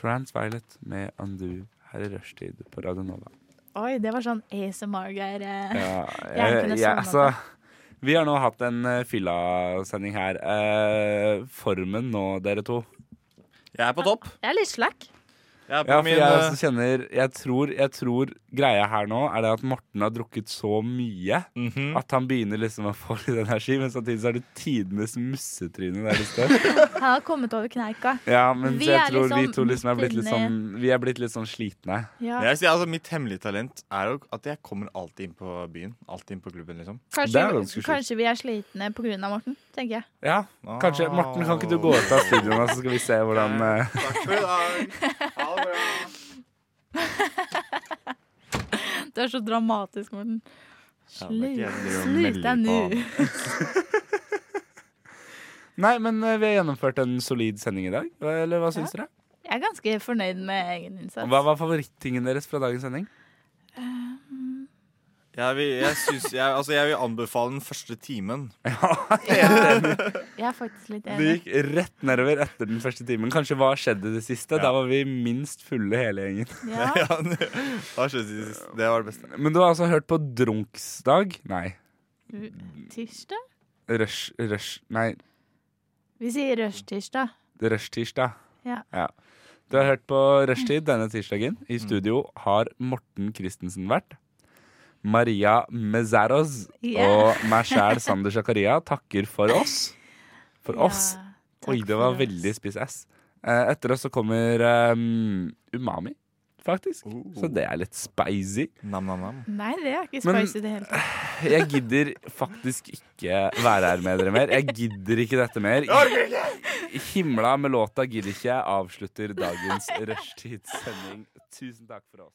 S3: Transviolet med Undo her i Rushtid på Radio Nova.
S4: Oi, det var sånn ASMR-greier. eh.
S3: Ja,
S4: Jeg
S3: jeg, jeg,
S4: kunne sovnet
S3: altså,
S4: på.
S3: vi har nå hatt en eh, fylla-sending her. Eh, formen nå, dere to?
S5: Jeg er på topp.
S4: Jeg er litt slack.
S5: Jeg er på
S3: Ja, for
S5: min,
S3: jeg
S5: eh,
S3: også kjenner jeg tror, jeg tror greia her nå er det at Morten har drukket så mye
S5: Mhm.
S3: at han begynner liksom å få litt energi, men samtidig så er det tidenes mussetryne der i sted.
S4: Han har kommet over kneika.
S3: Ja, men
S4: Vi
S3: så jeg
S4: er
S3: tror vi
S4: liksom
S3: to liksom er
S4: midt
S3: blitt litt
S4: inne i-
S3: sånn Vi er blitt litt sånn slitne.
S4: Ja.
S5: Men Jeg sier, altså, mitt hemmelige talent er jo at jeg kommer alltid inn på byen. Alltid inn på klubben, liksom.
S4: Kanskje, kanskje vi er slitne på grunn av Morten, tenker jeg.
S3: Ja, kanskje. Morten, kan ikke du gå ut av studioet nå, så skal vi se hvordan eh,
S4: Det er så dramatisk, Morten.
S3: Ja, men
S4: Slutt
S3: ikke jeg driver og
S4: Slutt deg nå.
S3: melder Nei, men eh, vi har gjennomført en solid sending i dag. Hva- Eller hva syns dere?
S4: Jeg er ganske fornøyd med egen innsats.
S3: Hva var favorittingen deres fra dagens sending?
S5: Jeg vil, jeg, syns- jeg, altså jeg vil anbefale den første timen.
S4: Jeg er faktisk litt
S3: Det
S4: enig.
S3: gikk rett nedover etter den første timen. Kanskje hva skjedde det siste? Der var vi minst fulle hele gjengen.
S4: Ja.
S5: hva skjedde det siste? Det var det beste.
S3: Men du har altså hørt på Drunksdag? Nei.
S4: U- Tirsdag?
S3: Rush... rush nei,
S4: Vi sier rushtirsdag.
S3: Rushtirsdag.
S4: Ja.
S3: Ja. Du har hørt på Rushtid denne tirsdagen. I studio har Morten Christensen vært. Maria Mezaros
S4: Ja.
S3: og meg sjæl, Sander Zakaria, takker for oss. For
S4: Ja,
S3: oss. Oi, det var veldig spiss S. Eh, Etter oss så kommer um, Umami, faktisk. Så det er litt spicy.
S4: Nei, det er ikke
S3: Men-
S4: spicy i det hele tatt.
S3: Jeg gidder faktisk ikke være her med dere mer. Jeg gidder ikke dette mer. Himla med låta gidder ikke. Jeg avslutter dagens rushtidssending. Tusen takk for oss.